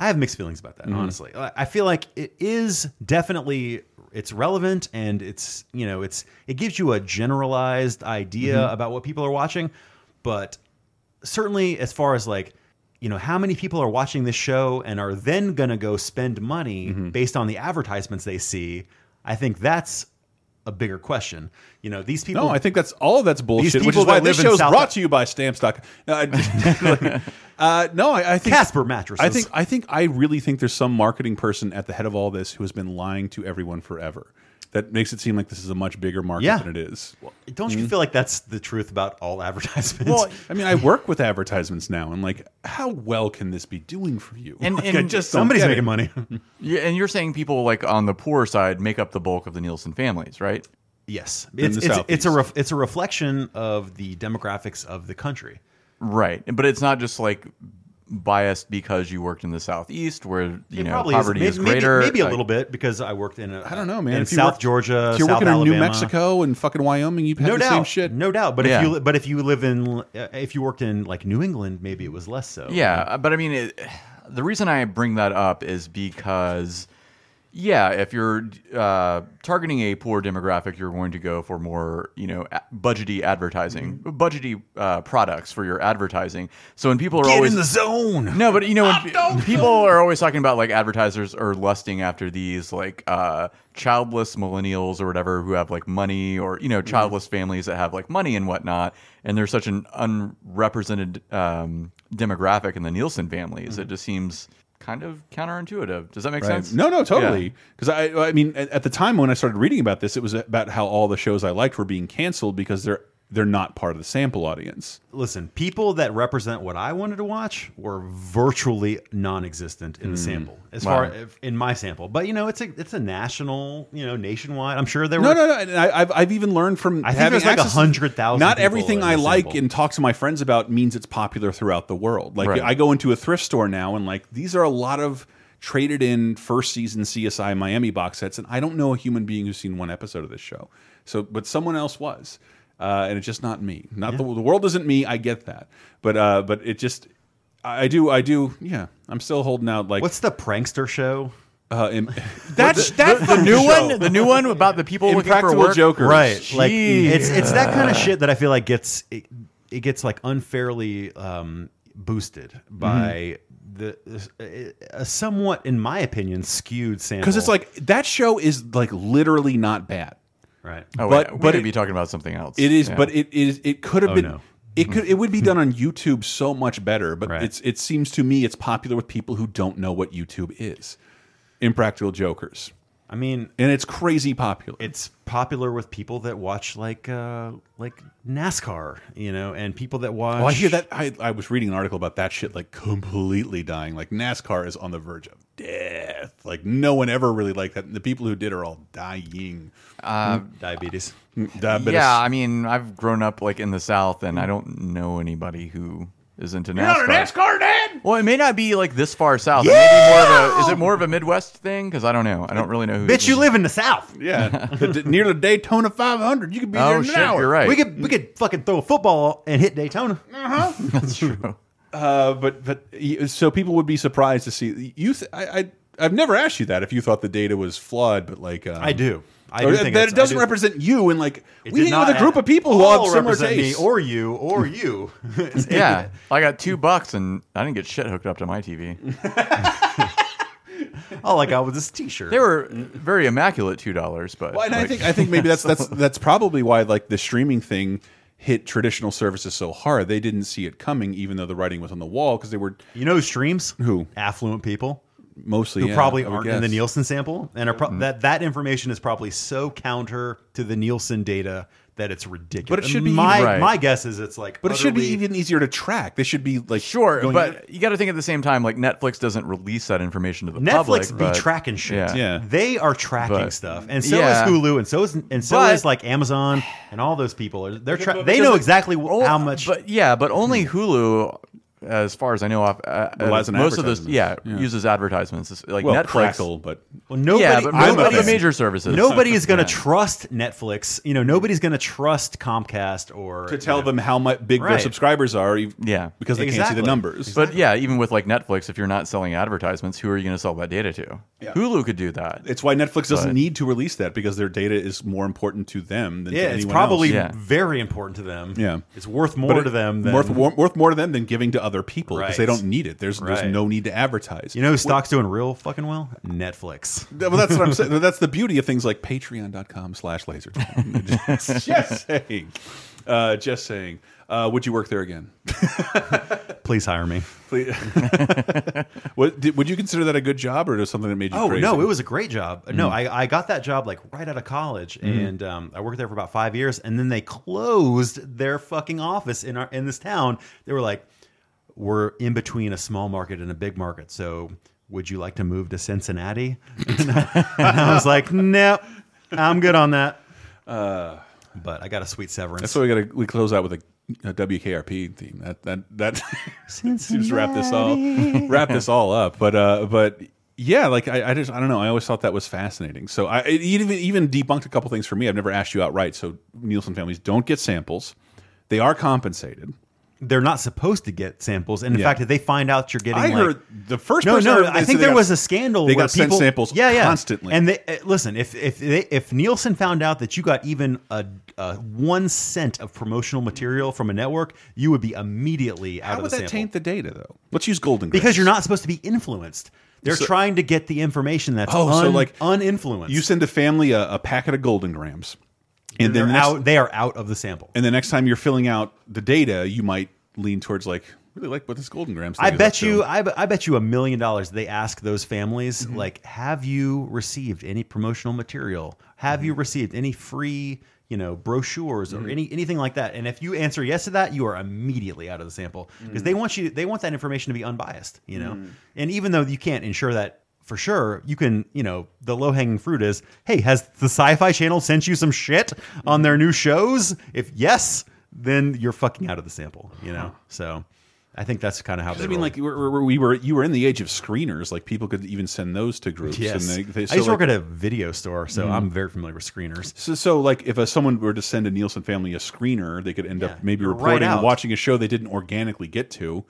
B: I have mixed feelings about that,
A: Mm-hmm.
B: honestly. I I feel like it is definitely it's relevant and it's you know it's it gives you a generalized idea
A: Mm-hmm.
B: about what people are watching, but certainly as far as like you know how many people are watching this show and are then going to go spend money
A: Mm-hmm.
B: based on the advertisements they see, I think that's a bigger question. You know these people.
A: No, I think that's all that's bullshit. Which
B: people
A: is why
B: that live
A: this
B: in
A: show's
B: South-
A: brought to you by Stamps.com. No, I, uh, no, I, I think
B: Casper mattresses.
A: I think I think I really think there's some marketing person at the head of all this who has been lying to everyone forever. That makes it seem like this is a much bigger market
B: Yeah.
A: than it is.
B: don't you feel like that's the truth about all advertisements?
A: Mm-hmm. Well, I mean, I work with advertisements now, and like, how well can this be doing for you?
C: And-
A: Like,
C: and
A: I just don't
B: somebody's
A: get it.
B: making money.
C: Yeah, and you're saying people like on the poor side make up the bulk of the Nielsen families, right?
B: Yes,
A: than the
B: it's it's, it's a
A: Southeast.
B: ref, it's a reflection of the demographics of the country.
C: Right, but it's not just like biased because you worked in the southeast where you
B: It
C: know
B: probably
C: poverty
B: may-
C: is,
B: maybe-
C: greater.
B: maybe, a
C: Like,
B: little bit because I worked in a,
A: I don't know, man.
B: in
A: If you
B: South
A: work-
B: Georgia,
A: if you're
B: South
A: working in New
B: Alabama.
A: Mexico and fucking Wyoming, you've had
B: No
A: the
B: doubt,
A: same shit.
B: no doubt. But
C: Yeah.
B: if you but if you live in uh, if you worked in like New England, maybe it was less so.
C: Yeah, uh, but I mean, it, the reason I bring that up is because, yeah, if you're uh, targeting a poor demographic, you're going to go for more, you know, a- budgety advertising,
B: Mm-hmm.
C: budgety uh, products for your advertising. So when people are
B: get
C: always
B: in the zone.
C: no, but you know, when pe- people are always talking about like advertisers are lusting after these like uh, childless millennials or whatever who have like money or you know childless families that have like money and whatnot, and they're such an unrepresented um, demographic in the Nielsen families. It just seems kind of counterintuitive. Does that make
A: Right.
C: sense?
A: No, no,
C: Yeah.
A: totally. Because I, I mean, at, at the time when I started reading about this, it was about how all the shows I liked were being canceled because they're they're not part of the sample audience.
B: Listen, people that represent what I wanted to watch were virtually non-existent
A: Mm.
B: in the sample, as far
C: Wow.
B: as in my sample. But you know, it's a it's a national, you know, nationwide. I'm sure there
A: No,
B: were
A: no, no. And I, I've I've even learned from
B: I think
A: having
B: there's like
A: access-
B: 100,000
A: Not
B: people
A: everything
B: in
A: I
B: the
A: like
B: sample.
A: and talk to my friends about means it's popular throughout the world. Like
C: Right.
A: I go into a thrift store now and like these are a lot of traded in first season CSI Miami box sets, and I don't know a human being who's seen one episode of this show. So, but someone else was, uh, and it's just not me. Not the, the world isn't me. I get that, but uh, but it just. I I do, I do, yeah. I'm still holding out like
B: What's the prankster show?
A: uh, im-
C: That's that's the, new one. The new one about the people looking for
A: impractical
C: work.
A: jokers,
B: right like
C: Jeez.
B: it's it's that kind of shit that i feel like gets it, it gets like unfairly um boosted
A: Mm-hmm.
B: by the a somewhat in my opinion skewed sample
A: Because it's like that show is like literally not bad.
B: right
C: Oh,
A: But-
C: but we
A: but
C: could
A: it-
C: be talking about something else.
A: It is,
C: Yeah.
A: but it is. It could have
B: Oh,
A: been.
B: no.
A: It could. It would be done on YouTube so much better. But
B: Right.
A: it's. It seems to me it's popular with people who don't know what YouTube is. Impractical Jokers,
B: i mean
A: and it's crazy popular.
B: it's popular with people that watch like uh like nascar you know and people that watch
A: Oh, I hear that. I, I was reading an article about that shit, like completely dying. Like NASCAR is on the verge of death. Like no one ever really liked that. And the people who did are all dying.
B: diabetes
A: Diabetes.
C: yeah, I mean, I've grown up like in the South, and I don't know anybody who is into NASCAR.
A: Not a NASCAR dad.
C: Well, it may not be like this far south. It may be more of a, is it more of a Midwest thing? Because I don't know. I don't really know who.
B: bitch you live in the south
A: Yeah, The- near the Daytona 500, you could be there
C: Oh
A: in an
C: shit,
A: hour.
C: you're right.
B: we could we could fucking throw a football and hit daytona
A: Mm.
C: That's true.
A: Uh, but but y- so people would be surprised to see you. Th I, I I've never asked you that if you thought the data was flawed, but like um,
B: i do I
A: Or
B: do
A: that
B: think
A: it
B: it's- I
A: doesn't
B: do-
A: represent you and like
B: it
A: we
B: did
A: hang
B: not
A: with a group
B: at
A: of people who all
B: all
A: have similar
B: represent me
A: tastes.
B: or you, or you.
C: yeah, I got two bucks and I didn't get shit hooked up to my TV.
B: All I got was uh, this T-shirt.
C: They were very immaculate two dollars, but
A: Well, and I
C: like,
A: think I think maybe that's that's that's probably why like the streaming thing hit traditional services so hard. They didn't see it coming, even though the writing was on the wall because they were
B: you know who streams?
A: Who?
B: Affluent people.
A: mostly
B: who
A: yeah,
B: probably
A: I would
B: aren't in the
A: guess. Mm.
B: Nielsen sample, and are pro- that that information is probably so counter to the Nielsen data that it's ridiculous.
A: But it should be
B: my
C: Right.
B: my guess is it's like,
A: But it should be
B: utterly-
A: even easier to track. They should be like
C: sure,
A: going-
C: but you got to think at the same time like Netflix doesn't release that information to the public.
B: Netflix
C: but-
B: be tracking shit.
C: yeah.
A: Yeah.
B: they are tracking
C: But-
B: stuff, and so
C: Yeah.
B: is Hulu, and so is and so
C: But-
B: is like Amazon and all those people. Are, they're tra-
C: But
B: they
C: because
B: know
C: it-
B: exactly wh-
C: Oh,
B: how much. Hmm.
C: But yeah, but only Hulu, as far as I know, off uh,
A: Relies
C: uh,
A: on
C: most of those yeah,
A: advertisements. Yeah.
C: uses advertisements. It's like
A: well,
C: Netflix.
A: Crackle, but
B: well, nobody,
C: yeah, but
A: I'm
C: most
A: a
C: of the
A: fan.
C: major services.
B: nobody is going to
C: Yeah.
B: trust Netflix. You know, nobody's going to trust Comcast or
A: to
B: you
A: tell
B: know,
A: them how much big their
B: Right.
A: subscribers are, ev-
C: Yeah.
A: because they can't see
B: Exactly.
A: the numbers.
C: But yeah, even with like Netflix, if you're not selling advertisements, who are you going to sell that data to?
A: Yeah.
C: Hulu could do that.
A: It's why Netflix doesn't
C: But-
A: need to release that because their data is more important to them than to
B: Yeah,
A: anyone
B: it's probably
A: else.
C: else. Yeah.
B: very important to them.
A: Yeah.
B: it's worth more
A: But it-
B: to them than
A: worth, wor- worth more to them than giving to other people because they
B: Right.
A: don't need it. There's
B: Right.
A: there's no need to advertise.
B: You know, who stock's doing real fucking well. Netflix.
A: Well, that's what I'm saying. That's the beauty of things like patreon.com slash laser. just saying. Uh, just saying. Uh, would you work there again?
B: Please hire me.
A: Please. what, did, would you consider that a good job or just something that made you
B: Oh
A: crazy? Mm-hmm.
B: no, it was a great job. No, I, I got that job like right out of college, and um, I worked there for about five years, and then they closed their fucking office in our in this town. They were like, "We're in between a small market and a big market, so would you like to move to Cincinnati?" and, I, and I was like, "No, I'm good on that." but I got a sweet severance.
A: Uh, That's why we got to we close out with a, a WKRP theme. That that that seems to wrap this all wrap this all up. But uh, but yeah, like I, I just I don't know. I always thought that was fascinating. So I it even even debunked a couple things for me. I've never asked you outright. So Nielsen families don't get samples. They are compensated.
B: They're not supposed to get samples, and in
A: Yeah.
B: fact, if they find out you're getting,
A: I
B: like-
A: heard the first
B: no,
A: person I
B: no.
A: heard
B: I
A: they
B: think
A: said they
B: there
A: got-
B: was a scandal.
A: They
B: where
A: got sent
B: people-
A: samples
B: yeah, yeah.
A: constantly.
B: And they, uh, listen, if if they, if Nielsen found out that you got even a, a one cent of promotional material from a network, you would be immediately out
A: how
B: of
A: would
B: the
A: that
B: sample
A: taint the data though? Let's use Golden
B: because
A: Grapes.
B: you're not supposed to be influenced. They're
A: So-
B: trying to get the information that's
A: Oh, so
B: un-
A: like-
B: uninfluenced.
A: You send a family a, a packet of Golden Grams, and
B: they're
A: then next-
B: out. They are out of the sample.
A: and the next time you're filling out the data, you might lean towards like really like what this Golden Grams. Thing
B: I
A: is up
B: bet
A: to.
B: you, I, be- I bet you a million dollars. They ask those families,
A: Mm-hmm.
B: like, have you received any promotional material? Have
A: Mm-hmm.
B: you received any free, you know, brochures or any anything like that? And if you answer yes to that, you are immediately out of the sample because
A: Mm-hmm.
B: they want you, they want that information to be unbiased, you know. And even though you can't ensure that for sure, you can, you know, the low hanging fruit is, hey, has the Sci-Fi Channel sent you some shit
A: Mm-hmm.
B: on their new shows? If yes. Then you're fucking out of the sample, you know. So, I think that's kind of how.
A: Because
B: They
A: I mean,
B: roll.
A: like we were, we were, you were in the age of screeners. Like people could even send those to groups.
B: Yes.
A: And they, they, so,
B: I used to
A: like, Mm.
B: work at a video store, so I'm very familiar with screeners.
A: so, so, like if a, someone were to send a Nielsen family a screener, they could end
B: Yeah,
A: up maybe
B: you're
A: reporting
B: right
A: and
B: out.
A: watching a show they didn't organically get to.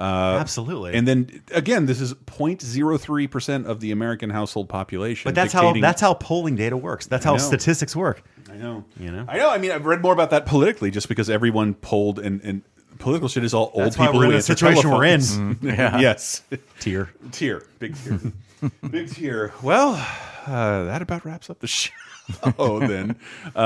B: Absolutely.
A: And then again, this is 0.03 percent of the American household population.
B: but that's how
A: dictating-
B: that's how polling data works. That's
A: I
B: how
A: know.
B: statistics work.
A: I know.
B: You know?
A: I know. I mean, I've read more about that politically, just because everyone polled and and political shit is all old
B: That's why
A: people.
B: we're
A: who
B: in the
A: answer
B: situation we're in. Mm-hmm.
A: telephones. yes.
B: Tier.
A: Tier. Big tier. Big tier. Well, uh, that about wraps up the show. oh, then. Uh,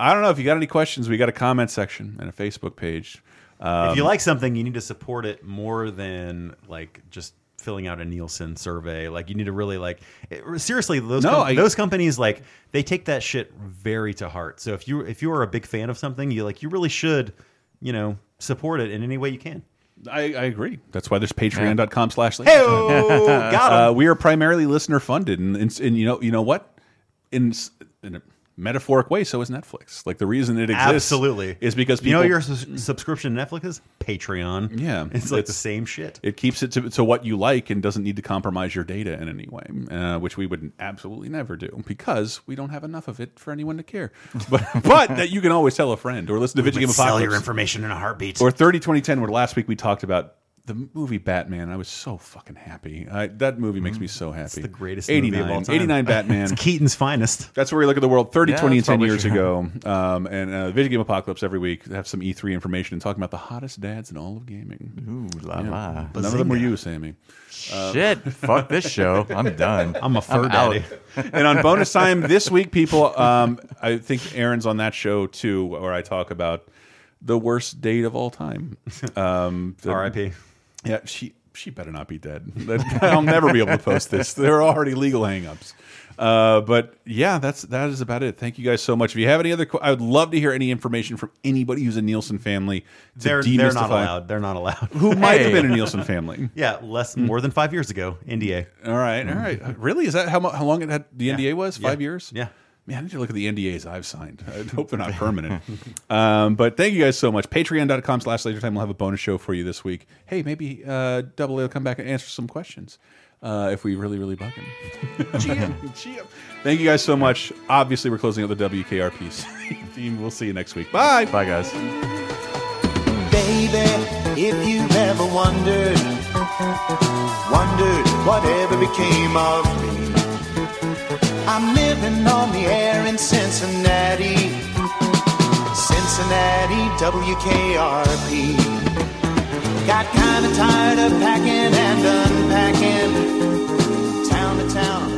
A: I don't know if you got any questions. We got a comment section and a Facebook page.
B: if
A: Um,
B: you like something, you need to support it more than like just filling out a Nielsen survey. Like you need to really like it- seriously those
A: No,
B: com-
A: I-
B: those companies like they take that shit very to heart. So if you if you are a big fan of something, you like you really should, you know, support it in any way you can.
A: I, I agree. That's why there's patreon.com slash
B: Hey, got 'em.
A: Uh, we are primarily listener funded, and, and, and you know you know what, in s- in a metaphoric way, so is Netflix. Like the reason it exists,
B: Absolutely,
A: is because people
B: you know your sus- subscription to Netflix is Patreon.
A: Yeah,
B: it's like
A: it's-
B: the same shit.
A: It keeps it to, to what you like and doesn't need to compromise your data in any way, uh, which we would absolutely never do because we don't have enough of it for anyone to care. But but that you can always tell a friend or listen to Video Game
B: sell
A: Apocalypse
B: your information in a heartbeat.
A: or 30 2010 where last week we talked about the movie Batman. I was so fucking happy. I, that movie makes me so happy.
B: Mm-hmm. the greatest movie of
A: 89,
B: all time.
A: 89 Batman.
B: It's Keaton's finest.
A: That's where we look at the world 30,
C: Yeah,
A: 20, and
C: that's
A: 10
C: probably
A: years
C: true.
A: ago. Um, and uh, Video Game Apocalypse every week have some E3 information and talking about the hottest dads in all of
B: Mm-hmm.
A: gaming.
C: Ooh la
A: Yeah.
C: la.
A: None of them were you, Sammy.
C: Shit. Fuck this show. I'm done.
B: I'm a fur
C: out.
B: daddy.
A: and on bonus time this week, people, um, I think Aaron's on that show too, where I talk about the worst date of all time. Um, the-
B: R.I.P.
A: Yeah, she she better not be dead. That- I'll never be able to post this. There are already legal hangups. Uh, but yeah, that's that is about it. Thank you guys so much. If you have any other, que- I would love to hear any information from anybody who's a Nielsen family. To
B: They're, they're not
A: demystify-
B: allowed. They're not allowed.
A: Who might have
C: Hey.
A: been a Nielsen family?
B: Yeah, less
A: Hmm.
B: more than five years ago. NDA.
A: All right, all right. Really, is that how mu- how long it had the NDA was? Five years?
B: Mm-hmm. Yeah.
A: Man, I need to look at the NDAs I've signed. I hope they're not permanent. um, but thank you guys so much. Patreon.com slash laser time. We'll have a bonus show for you this week. Hey, maybe uh, Double A will come back and answer some questions uh, if we really, really bug him. GM. Thank you guys so much. Obviously, we're closing out the WKRP theme. We'll see you next week. Bye.
C: Bye, guys.
H: Baby, if you've ever wondered, wondered whatever became of me. I'm living on the air in Cincinnati, Cincinnati, WKRP. Got kinda tired of packing and unpacking, town to town.